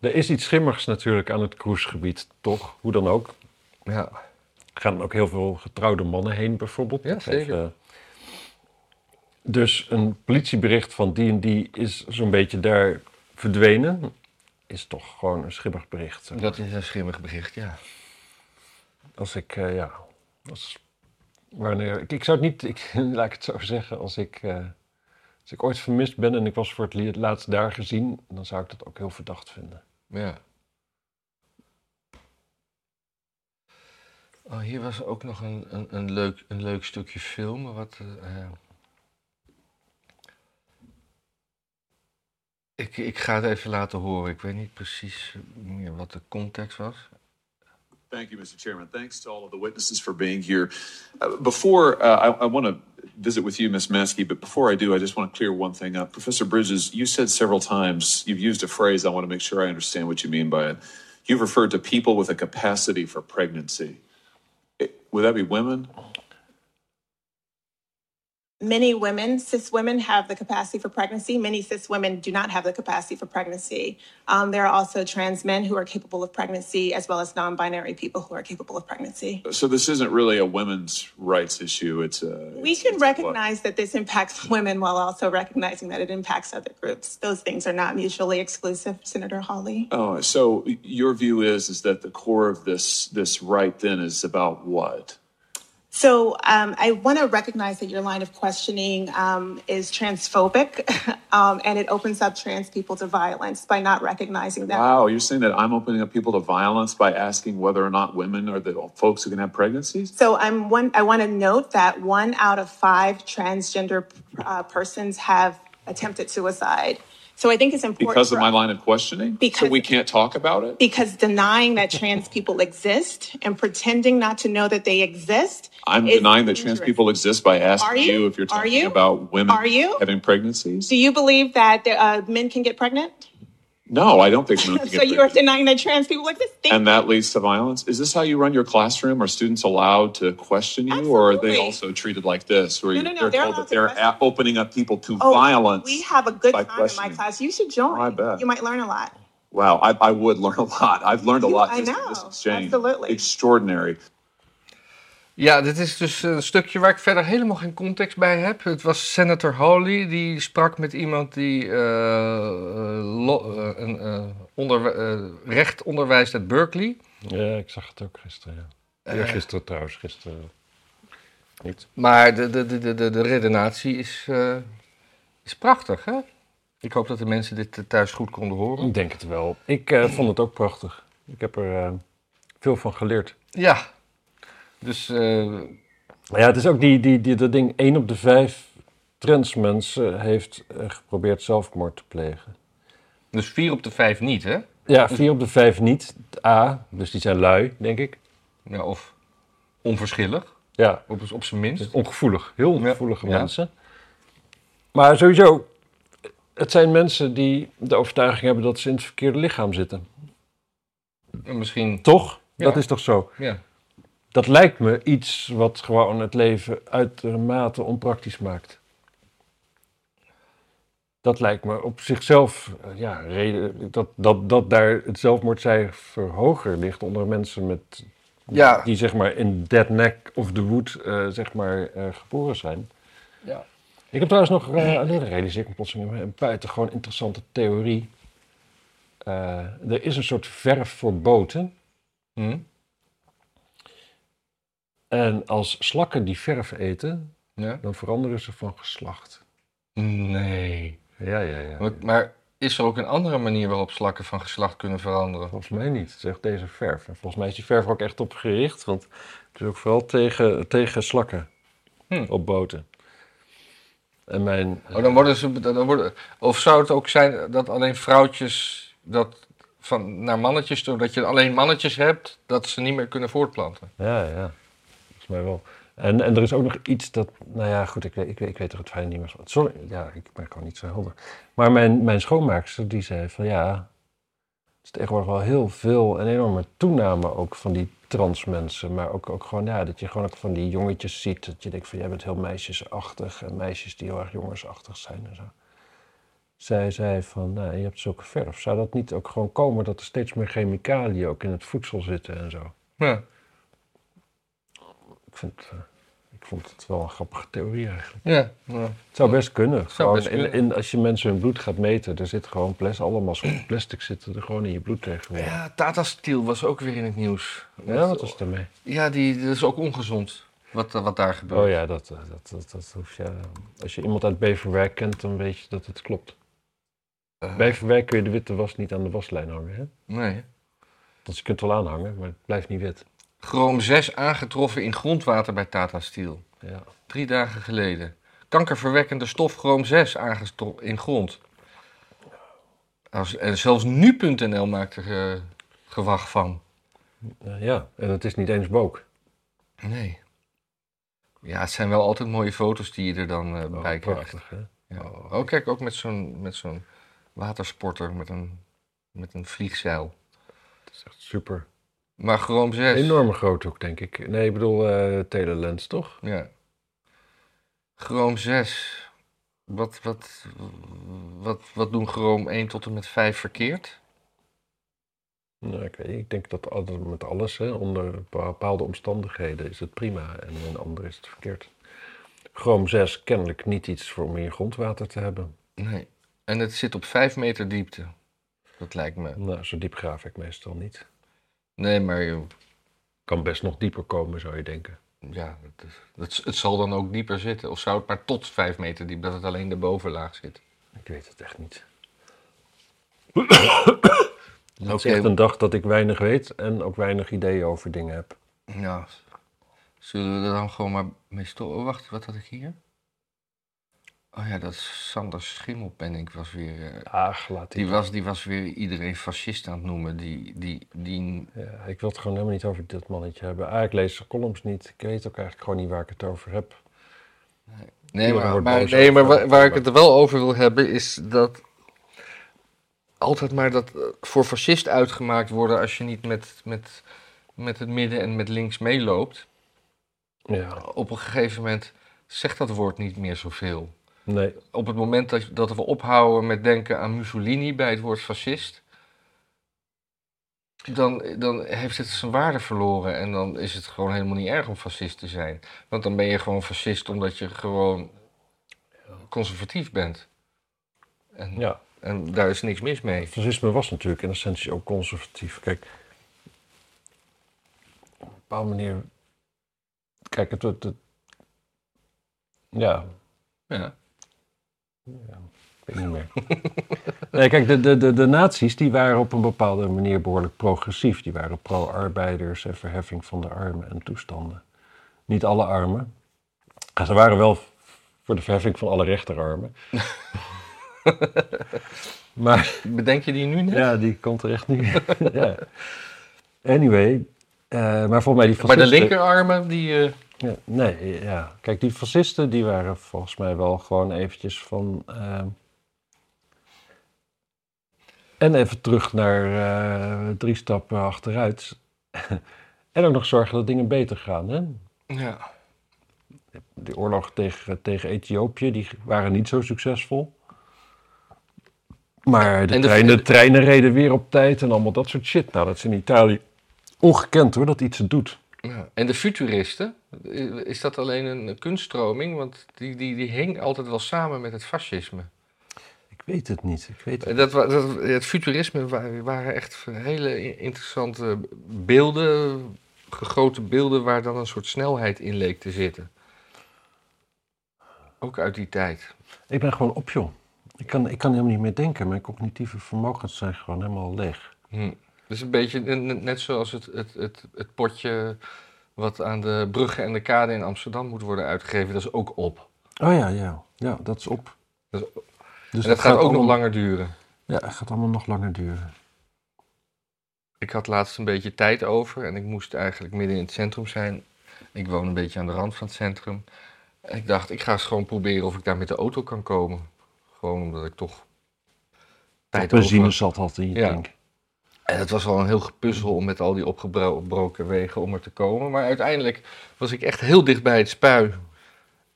Speaker 1: er is iets schimmigs natuurlijk aan het cruisegebied, toch? Hoe dan ook.
Speaker 2: Ja.
Speaker 1: Er gaan ook heel veel getrouwde mannen heen, bijvoorbeeld.
Speaker 2: Ja, zeker.
Speaker 1: eh, dus een politiebericht van die en die is zo'n beetje daar verdwenen. Is toch gewoon een schimmig bericht.
Speaker 2: Dat is een schimmig bericht, ja.
Speaker 1: Als ik, eh, ja. Als, wanneer, ik, ik zou het niet, ik, <laughs> laat ik het zo zeggen, als ik, eh, als ik ooit vermist ben en ik was voor het li- laatst daar gezien, dan zou ik dat ook heel verdacht vinden.
Speaker 2: ja. Oh, hier was ook nog een, een, een, leuk, een leuk stukje film. Wat, eh, eh, ik, ik ga het even laten horen. Ik weet niet precies meer wat de context was.
Speaker 3: Thank you, Mr. Chairman. Thanks to all of the witnesses for being here. Uh, Before uh, I, I want to visit with you, Ms. Maskey, but before I do, I just want to clear one thing up. Professor Bridges, you said several times, you've used a phrase, I want to make sure I understand what you mean by it. You've referred to people with a capacity for pregnancy. It- would that be women?
Speaker 4: many women, cis women, have the capacity for pregnancy. Many cis women do not have the capacity for pregnancy. Um, there are also trans men who are capable of pregnancy, as well as non binary people who are capable of pregnancy.
Speaker 3: So this isn't really a women's rights issue. It's a.
Speaker 4: We
Speaker 3: it's-
Speaker 4: should
Speaker 3: it's a-
Speaker 4: recognize that this impacts <laughs> women while also recognizing that it impacts other groups. Those things are not mutually exclusive, Senator Hawley.
Speaker 3: Oh, so your view is is that the core of this this right then is about what?
Speaker 4: So um, I want to recognize that your line of questioning um, is transphobic, <laughs> um, and it opens up trans people to violence by not recognizing that.
Speaker 3: Wow, you're saying that I'm opening up people to violence by asking whether or not women are the folks who can have pregnancies?
Speaker 4: So I'm one. I want to note that one out of five transgender uh, persons have attempted suicide. So I think it's important
Speaker 3: Because of
Speaker 4: for
Speaker 3: my
Speaker 4: us-
Speaker 3: line of questioning? so
Speaker 4: Because-
Speaker 3: we can't talk about it?
Speaker 4: because denying that trans people exist and pretending not to know that they exist.
Speaker 3: I'm
Speaker 4: is
Speaker 3: denying that trans
Speaker 4: dangerous.
Speaker 3: people exist by
Speaker 4: Are
Speaker 3: asking
Speaker 4: you?
Speaker 3: you? if you're
Speaker 4: Are
Speaker 3: talking
Speaker 4: you?
Speaker 3: about women
Speaker 4: Are you?
Speaker 3: having pregnancies.
Speaker 4: Do you believe that uh, men can get pregnant?
Speaker 3: no, I don't think
Speaker 4: <laughs>
Speaker 3: women can
Speaker 4: So
Speaker 3: get
Speaker 4: you are
Speaker 3: pregnant.
Speaker 4: denying that trans people exist. Thank
Speaker 3: And that leads to violence. Is this how you run your classroom? Are students allowed to question you, or are they
Speaker 4: Absolutely.
Speaker 3: also treated like this, where
Speaker 4: No,
Speaker 3: you-
Speaker 4: no,
Speaker 3: they're
Speaker 4: no, they're
Speaker 3: told
Speaker 4: allowed
Speaker 3: that
Speaker 4: to
Speaker 3: they're
Speaker 4: question.
Speaker 3: a- opening up people to
Speaker 4: Oh,
Speaker 3: violence?
Speaker 4: We have a good
Speaker 3: by
Speaker 4: time in my
Speaker 3: questioning.
Speaker 4: class. You should join.
Speaker 3: I bet.
Speaker 4: You might learn a lot.
Speaker 3: Wow, I, I would <laughs> learn a lot. I've learned a
Speaker 4: You-
Speaker 3: lot.
Speaker 4: I
Speaker 3: just in This
Speaker 4: know.
Speaker 3: exchange.
Speaker 4: Absolutely.
Speaker 3: Extraordinary.
Speaker 2: Ja, dit is dus een stukje waar ik verder helemaal geen context bij heb. Het was Senator Hawley, die sprak met iemand die eh, eh, lo- eh, een, eh, onderwe- eh, recht onderwijst uit Berkeley.
Speaker 1: Ja, ik zag het ook gisteren. Ja. gisteren trouwens, gisteren. Niet.
Speaker 2: Maar de, de, de, de- de, de redenatie is, eh, is prachtig, hè? Ik hoop dat de mensen dit eh, thuis goed konden horen.
Speaker 1: Ik denk het wel. Ik eh, vond het ook prachtig. Ik heb er eh, veel van geleerd.
Speaker 2: Ja. Dus, eh,
Speaker 1: Maar ja, het is ook die, die, die, dat ding, één op de vijf transmensen heeft eh, geprobeerd zelfmoord te plegen.
Speaker 2: dus vier op de vijf niet, hè?
Speaker 1: Ja, vier op de vijf niet. A, dus die zijn lui, denk ik.
Speaker 2: Ja, of onverschillig,
Speaker 1: Ja, dus
Speaker 2: op, op zijn minst.
Speaker 1: ongevoelig. Heel ongevoelige
Speaker 2: Ja, ja.
Speaker 1: mensen. Maar sowieso, het zijn mensen die de overtuiging hebben dat ze in het verkeerde lichaam zitten.
Speaker 2: En Misschien,
Speaker 1: Toch?
Speaker 2: Ja.
Speaker 1: Dat is toch zo?
Speaker 2: ja.
Speaker 1: Dat lijkt me iets wat gewoon het leven uitermate onpraktisch maakt. Dat lijkt me op zichzelf, eh, ja, reden, dat, dat, dat daar het zelfmoordcijfer hoger ligt onder mensen met,
Speaker 2: Ja.
Speaker 1: die zeg maar in dead neck of the wood eh, zeg maar, eh, geboren zijn.
Speaker 2: ja.
Speaker 1: Ik heb trouwens nog, eh nee, dat realiseer ik me plotseling, een buitengewoon interessante theorie. Eh, er is een soort verf voor boten.
Speaker 2: Hm?
Speaker 1: Eh, En als slakken die verf eten,
Speaker 2: Ja?
Speaker 1: dan veranderen ze van geslacht.
Speaker 2: Nee.
Speaker 1: Ja, ja, ja.
Speaker 2: Maar, maar is er ook een andere manier waarop slakken van geslacht kunnen veranderen?
Speaker 1: Volgens mij niet, zegt deze verf. En volgens mij is die verf er ook echt op gericht, want het is ook vooral tegen, tegen slakken
Speaker 2: Hm.
Speaker 1: op boten. En mijn...
Speaker 2: Oh, dan worden ze, dan worden, of zou het ook zijn dat alleen vrouwtjes dat van, naar mannetjes toe, dat je alleen mannetjes hebt, dat ze niet meer kunnen voortplanten?
Speaker 1: Ja, ja. Volgens mij wel. En, en er is ook nog iets dat... Nou ja, goed, ik weet, ik weet, ik weet er het fijne niet meer van. Sorry, ja, ik ben gewoon niet zo helder. Maar mijn, mijn schoonmaakster, die zei van ja... Er is tegenwoordig wel heel veel, een enorme toename ook van die trans mensen. Maar ook, ook gewoon, ja, dat je gewoon ook van die jongetjes ziet. Dat je denkt van, jij bent heel meisjesachtig. En meisjes die heel erg jongensachtig zijn en zo. Zij zei van, nou, je hebt zulke verf. Zou dat niet ook gewoon komen dat er steeds meer chemicaliën ook in het voedsel zitten en zo?
Speaker 2: Ja.
Speaker 1: Ik, vind, het, eh, ik vond het wel een grappige theorie eigenlijk.
Speaker 2: Ja. ja.
Speaker 1: Het zou best kunnen. Gewoon
Speaker 2: best kunnen.
Speaker 1: In, in, als je mensen hun bloed gaat meten, er zit gewoon plas, allemaal soort <clears throat> plastic zitten er gewoon in je bloed tegenwoordig. Ja,
Speaker 2: Ja, Tata Steel was ook weer in het nieuws.
Speaker 1: wat was het daarmee?
Speaker 2: Ja, die, dat is ook ongezond, wat, wat daar gebeurt.
Speaker 1: Oh ja, dat, eh, dat, dat, dat hoef je... Als je iemand uit Beverwijk kent, dan weet je dat het klopt.
Speaker 2: Eh.
Speaker 1: Beverwijk kun je de witte was niet aan de waslijn hangen, hè?
Speaker 2: Nee.
Speaker 1: Want je kunt het wel aanhangen, maar het blijft niet wit.
Speaker 2: Chroom 6 aangetroffen in grondwater bij Tata Steel.
Speaker 1: Ja.
Speaker 2: Drie dagen geleden. Kankerverwekkende stof chroom 6 aangetroffen in grond. Als- En zelfs nu.nl maakt er eh, gewacht van.
Speaker 1: Eh, ja, en het is niet eens book.
Speaker 2: Nee. Ja, het zijn wel altijd mooie foto's die je er dan eh, bij krijgt.
Speaker 1: Oh, prachtig, hè?
Speaker 2: Ja. Oh, kijk, ook met zo'n, met zo'n watersporter met een, met een vliegzeil.
Speaker 1: Het is echt super.
Speaker 2: Maar chroom 6.
Speaker 1: Enorme groot ook, denk ik. Nee, ik bedoel eh telelens, toch?
Speaker 2: Ja. Chroom 6. Wat, wat, wat, wat doen Chroom 1 tot en met 5 verkeerd?
Speaker 1: Nou, ik, weet, niet. ik denk dat al- met alles, hè, onder bepaalde omstandigheden, is het prima en in andere is het verkeerd. Chroom 6 kennelijk niet iets voor om in je grondwater te hebben.
Speaker 2: Nee. En het zit op 5 meter diepte. Dat lijkt me.
Speaker 1: Nou, zo diep graaf ik meestal niet.
Speaker 2: Nee, maar eh, je-
Speaker 1: Kan best nog dieper komen, zou je denken.
Speaker 2: ja, het, is- het, het zal dan ook dieper zitten. Of zou het maar tot 5 meter diep, dat het alleen de bovenlaag zit?
Speaker 1: Ik weet het echt
Speaker 2: <coughs>
Speaker 1: niet.
Speaker 2: Oké.
Speaker 1: Het is echt een dag dat ik weinig weet en ook weinig ideeën over dingen heb.
Speaker 2: Ja. Zullen we er dan gewoon maar mee stoppen? Oh, wacht, wat had ik hier? Oh ja, dat is Sander Schimmelpenninck was weer... eh,
Speaker 1: Ach, laat die.
Speaker 2: Die was, die was weer iedereen fascist aan het noemen. Die, die, die...
Speaker 1: Ja, ik wil het gewoon helemaal niet over dit mannetje hebben. Ah, ik lees de columns niet. Ik weet ook eigenlijk gewoon niet waar ik het over heb.
Speaker 2: Nee,
Speaker 1: Iedereen
Speaker 2: maar,
Speaker 1: wordt
Speaker 2: maar,
Speaker 1: boos
Speaker 2: nee, maar
Speaker 1: over-
Speaker 2: waar, waar ik het er wel over wil hebben is dat... Altijd maar dat eh, voor fascist uitgemaakt worden als je niet met, met, met het midden en met links meeloopt.
Speaker 1: Ja,
Speaker 2: Op een gegeven moment zegt dat woord niet meer zoveel.
Speaker 1: nee.
Speaker 2: Op het moment dat, dat we ophouden met denken aan Mussolini bij het woord fascist... dan, dan heeft het zijn waarde verloren. En dan is het gewoon helemaal niet erg om fascist te zijn. Want dan ben je gewoon fascist omdat je gewoon conservatief bent. En,
Speaker 1: Ja,
Speaker 2: en daar is niks mis mee.
Speaker 1: Fascisme was natuurlijk in essentie ook conservatief. Kijk, op een bepaalde manier. Kijk, het. het, het- ja,
Speaker 2: Ja.
Speaker 1: ik weet niet meer. nee, kijk, de, de, de, de nazi's die waren op een bepaalde manier behoorlijk progressief. Die waren pro-arbeiders en verheffing van de armen en toestanden. Niet alle armen. Ja, Ze waren wel voor de verheffing van alle rechterarmen. maar.
Speaker 2: Bedenk je die nu net?
Speaker 1: <laughs> Ja, die komt er echt niet. <laughs> ja. Anyway, eh, maar volgens mij die
Speaker 2: maar
Speaker 1: fascisten...
Speaker 2: de linkerarmen, die... eh,
Speaker 1: Ja, nee, ja. Kijk, die fascisten die waren volgens mij wel gewoon eventjes van... ehm, en even terug naar eh, drie stappen achteruit. <laughs> en ook nog zorgen dat dingen beter gaan, hè?
Speaker 2: ja.
Speaker 1: De oorlog tegen, tegen Ethiopië, die waren niet zo succesvol. Maar de,
Speaker 2: En de-
Speaker 1: treinen, de treinen reden weer op tijd en allemaal dat soort shit. Nou, dat is in Italië ongekend hoor, dat iets doet.
Speaker 2: Ja. En de futuristen, eh, is dat alleen een kunststroming? Want die, die, die hing altijd wel samen met het fascisme.
Speaker 1: Ik weet het niet, ik weet het
Speaker 2: Dat, wa- dat, het futurisme wa- waren echt hele i- interessante beelden, grote beelden waar dan een soort snelheid in leek te zitten. Ook uit die tijd.
Speaker 1: Ik ben gewoon op, joh. Ik kan, ik kan helemaal niet meer denken. Mijn cognitieve vermogens zijn gewoon helemaal leeg.
Speaker 2: Hm. Dus een beetje n- n- net zoals het, het, het, het potje wat aan de bruggen en de kade in Amsterdam moet worden uitgegeven. Dat is ook op.
Speaker 1: Oh ja, ja. Ja, dat is op.
Speaker 2: Dat is
Speaker 1: Dus
Speaker 2: en dat gaat ook nog
Speaker 1: allemaal-
Speaker 2: langer duren.
Speaker 1: Ja, het gaat allemaal nog langer duren.
Speaker 2: Ik had laatst een beetje tijd over en ik moest eigenlijk midden in het centrum zijn. Ik woon een beetje aan de rand van het centrum. En ik dacht, ik ga eens gewoon proberen of ik daar met de auto kan komen. Gewoon omdat ik toch
Speaker 1: Dat
Speaker 2: tijd
Speaker 1: benzine
Speaker 2: over
Speaker 1: zat had in je
Speaker 2: Ja.
Speaker 1: tank.
Speaker 2: En het was al een heel gepuzzel om met al die opgebroken wegen om er te komen. Maar uiteindelijk was ik echt heel dicht bij het spui.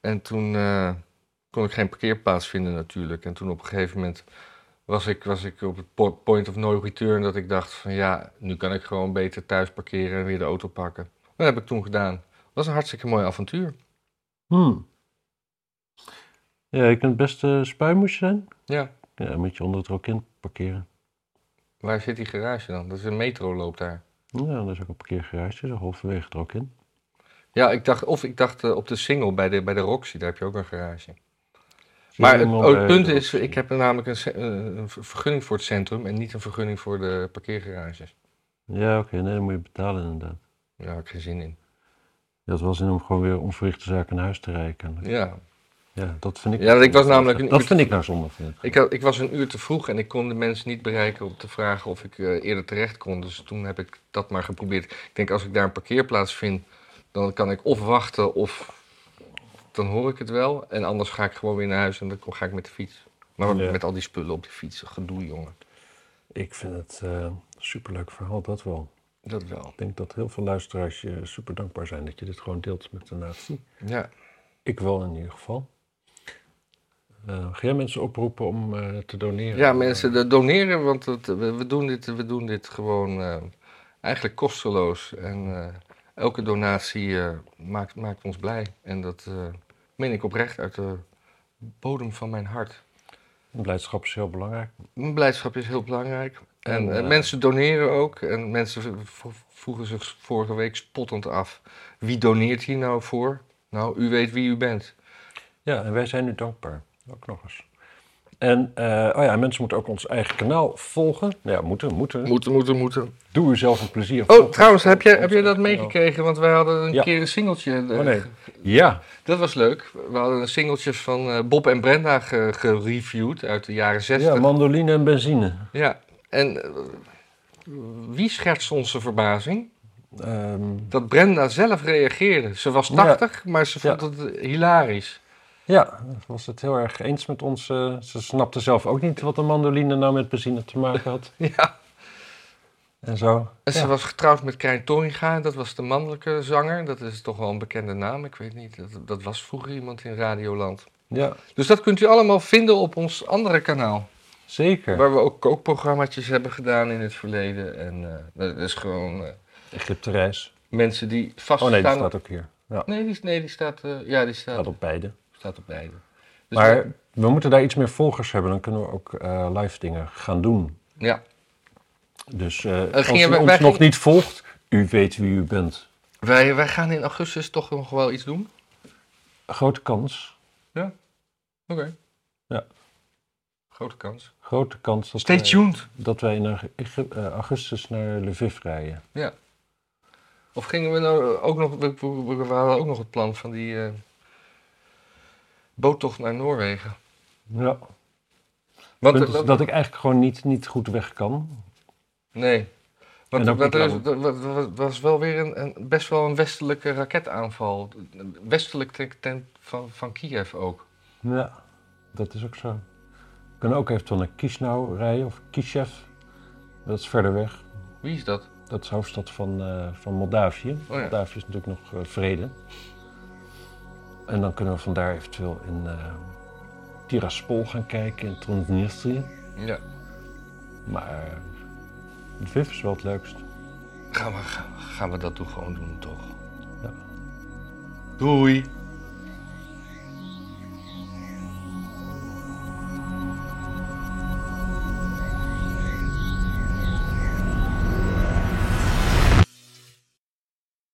Speaker 2: En toen eh, kon ik geen parkeerplaats vinden natuurlijk. En toen op een gegeven moment was ik, was ik op het po- point of no return dat ik dacht van ja, nu kan ik gewoon beter thuis parkeren en weer de auto pakken. Dat heb ik toen gedaan. Het was een hartstikke mooi avontuur.
Speaker 1: Hmm. Ja, je kunt best eh spuimoes zijn.
Speaker 2: Ja.
Speaker 1: Ja, dan moet je onder het rokin parkeren.
Speaker 2: Waar zit die garage dan? Dat is een metroloop daar.
Speaker 1: Ja, dat is ook een parkeergarage, dus halverwege het rokin.
Speaker 2: Ja, ik dacht, of ik dacht eh, op de single bij de, bij de Roxy, daar heb je ook een garage.
Speaker 1: Zie je
Speaker 2: Maar het,
Speaker 1: iemand
Speaker 2: oh, het
Speaker 1: bij
Speaker 2: punt
Speaker 1: de
Speaker 2: is,
Speaker 1: Roxy?
Speaker 2: ik heb namelijk een, ce- eh, een ver- vergunning voor het centrum en niet een vergunning voor de parkeergarages.
Speaker 1: Ja, oké, nee, dan moet je betalen inderdaad.
Speaker 2: Daar had ik geen zin in.
Speaker 1: Ja, dat was in om gewoon weer onverrichte zaken naar huis te rijden. kennelijk.
Speaker 2: Ja.
Speaker 1: Ja, dat vind ik.
Speaker 2: Ja, ik was namelijk een
Speaker 1: Dat
Speaker 2: uur-
Speaker 1: vind ik nou zonde. Vind ik.
Speaker 2: Ik, had- ik was een uur te vroeg en ik kon de mensen niet bereiken om te vragen of ik eh, eerder terecht kon. Dus toen heb ik dat maar geprobeerd. Ik denk, als ik daar een parkeerplaats vind, dan kan ik of wachten of dan hoor ik het wel. En anders ga ik gewoon weer naar huis en dan ga ik met de fiets. Maar
Speaker 1: Ja.
Speaker 2: met al die spullen op die fiets, gedoe jongen.
Speaker 1: Ik vind het eh, een superleuk verhaal, dat wel.
Speaker 2: Dat wel.
Speaker 1: Ik denk dat heel veel luisteraars je super dankbaar zijn dat je dit gewoon deelt met de natie.
Speaker 2: Ja.
Speaker 1: Ik wel in ieder geval. Eh ga jij mensen oproepen om eh, te doneren?
Speaker 2: Ja, mensen eh, doneren, want het- we, we, doen dit, we doen dit gewoon eh, eigenlijk kosteloos. En eh, elke donatie eh, maakt, maakt ons blij. En dat eh, meen ik oprecht uit de bodem van mijn hart.
Speaker 1: Blijdschap is heel belangrijk.
Speaker 2: Mijn blijdschap is heel belangrijk. En,
Speaker 1: En,
Speaker 2: eh,
Speaker 1: eh,
Speaker 2: mensen doneren ook. En mensen v- v- vroegen zich vorige week spottend af: wie doneert hier nou voor? Nou, u weet wie u bent.
Speaker 1: Ja, en wij zijn u dankbaar. Ook nog eens. En eh, oh ja, mensen moeten ook ons eigen kanaal volgen. Nou Ja, moeten, moeten.
Speaker 2: Moeten, moeten, moeten.
Speaker 1: Doe u zelf een plezier.
Speaker 2: Oh,
Speaker 1: Volg
Speaker 2: trouwens, heb je,
Speaker 1: ons
Speaker 2: heb je dat
Speaker 1: eigen kanaal.
Speaker 2: meegekregen? Want wij hadden een
Speaker 1: Ja.
Speaker 2: keer een singeltje eh,
Speaker 1: Oh nee. Ja,
Speaker 2: Dat was leuk. We hadden singeltjes van eh, Bob en Brenda ge- gereviewd uit de jaren 60.
Speaker 1: ja, mandoline en benzine.
Speaker 2: Ja. En eh, wie schetst onze verbazing?
Speaker 1: Ehm,
Speaker 2: Dat Brenda zelf reageerde. Ze was 80, maar ze vond
Speaker 1: Ja.
Speaker 2: het eh, hilarisch. <laughs>
Speaker 1: Ja, was het heel erg eens met ons. eh, ze snapte zelf ook niet wat de mandoline nou met benzine te maken had.
Speaker 2: Ja.
Speaker 1: En zo.
Speaker 2: En ze
Speaker 1: Ja.
Speaker 2: was getrouwd met Krijn Torringa. Dat was de mannelijke zanger. Dat is toch wel een bekende naam. Ik weet niet. Dat, dat was vroeger iemand in Radioland.
Speaker 1: Ja,
Speaker 2: Dus dat kunt u allemaal vinden op ons andere kanaal.
Speaker 1: zeker.
Speaker 2: Waar we ook kookprogramma's hebben gedaan in het verleden. En eh, dat is gewoon... eh,
Speaker 1: Egypte reis.
Speaker 2: Mensen die vaststaan.
Speaker 1: Oh nee, die staat ook hier. Ja,
Speaker 2: Nee, die, nee, die staat, eh, ja, die staat,
Speaker 1: staat op beide.
Speaker 2: staat op beide. Dus
Speaker 1: Maar we moeten daar iets meer volgers hebben. Dan kunnen we ook eh, live dingen gaan doen.
Speaker 2: Ja.
Speaker 1: Dus eh, als
Speaker 2: gingen
Speaker 1: u
Speaker 2: we-
Speaker 1: ons
Speaker 2: wij
Speaker 1: nog
Speaker 2: gingen-
Speaker 1: niet volgt, u weet wie u bent.
Speaker 2: Wij, wij gaan in augustus toch nog wel iets doen.
Speaker 1: Grote kans.
Speaker 2: Oké.
Speaker 1: Ja.
Speaker 2: Grote kans. Eh,
Speaker 1: Grote kans dat,
Speaker 2: Stay
Speaker 1: wij,
Speaker 2: tuned.
Speaker 1: dat wij in aug- Egyp- eh, augustus naar Lviv rijden.
Speaker 2: Ja. Of gingen we nou ook nog, we, we- we hadden ook nog het plan van die eh, boottocht naar Noorwegen.
Speaker 1: Ja.
Speaker 2: Want,
Speaker 1: Punt
Speaker 2: eh,
Speaker 1: is
Speaker 2: wat-
Speaker 1: dat ik eigenlijk gewoon niet, niet goed weg kan.
Speaker 2: nee. Want
Speaker 1: En ook
Speaker 2: wat
Speaker 1: niet
Speaker 2: er is- wat- wat- was wel weer een, een- best wel een westelijke raketaanval. Westelijk ten, ten- van, van Kiev ook.
Speaker 1: Ja, dat is ook zo. We kunnen ook eventueel naar Kisnau rijden of Kishev. Dat is verder weg.
Speaker 2: Wie is dat?
Speaker 1: Dat is hoofdstad van, eh, van Moldavië.
Speaker 2: ja.
Speaker 1: Moldavië is natuurlijk nog eh, vrede. En dan kunnen we vandaar eventueel in eh, Tiraspol gaan kijken, in Transnistrië.
Speaker 2: Ja.
Speaker 1: Maar eh, Lviv is wel het leukst.
Speaker 2: Gaan we, gaan, we- gaan we dat toch gewoon doen, toch?
Speaker 1: Ja.
Speaker 2: Doei!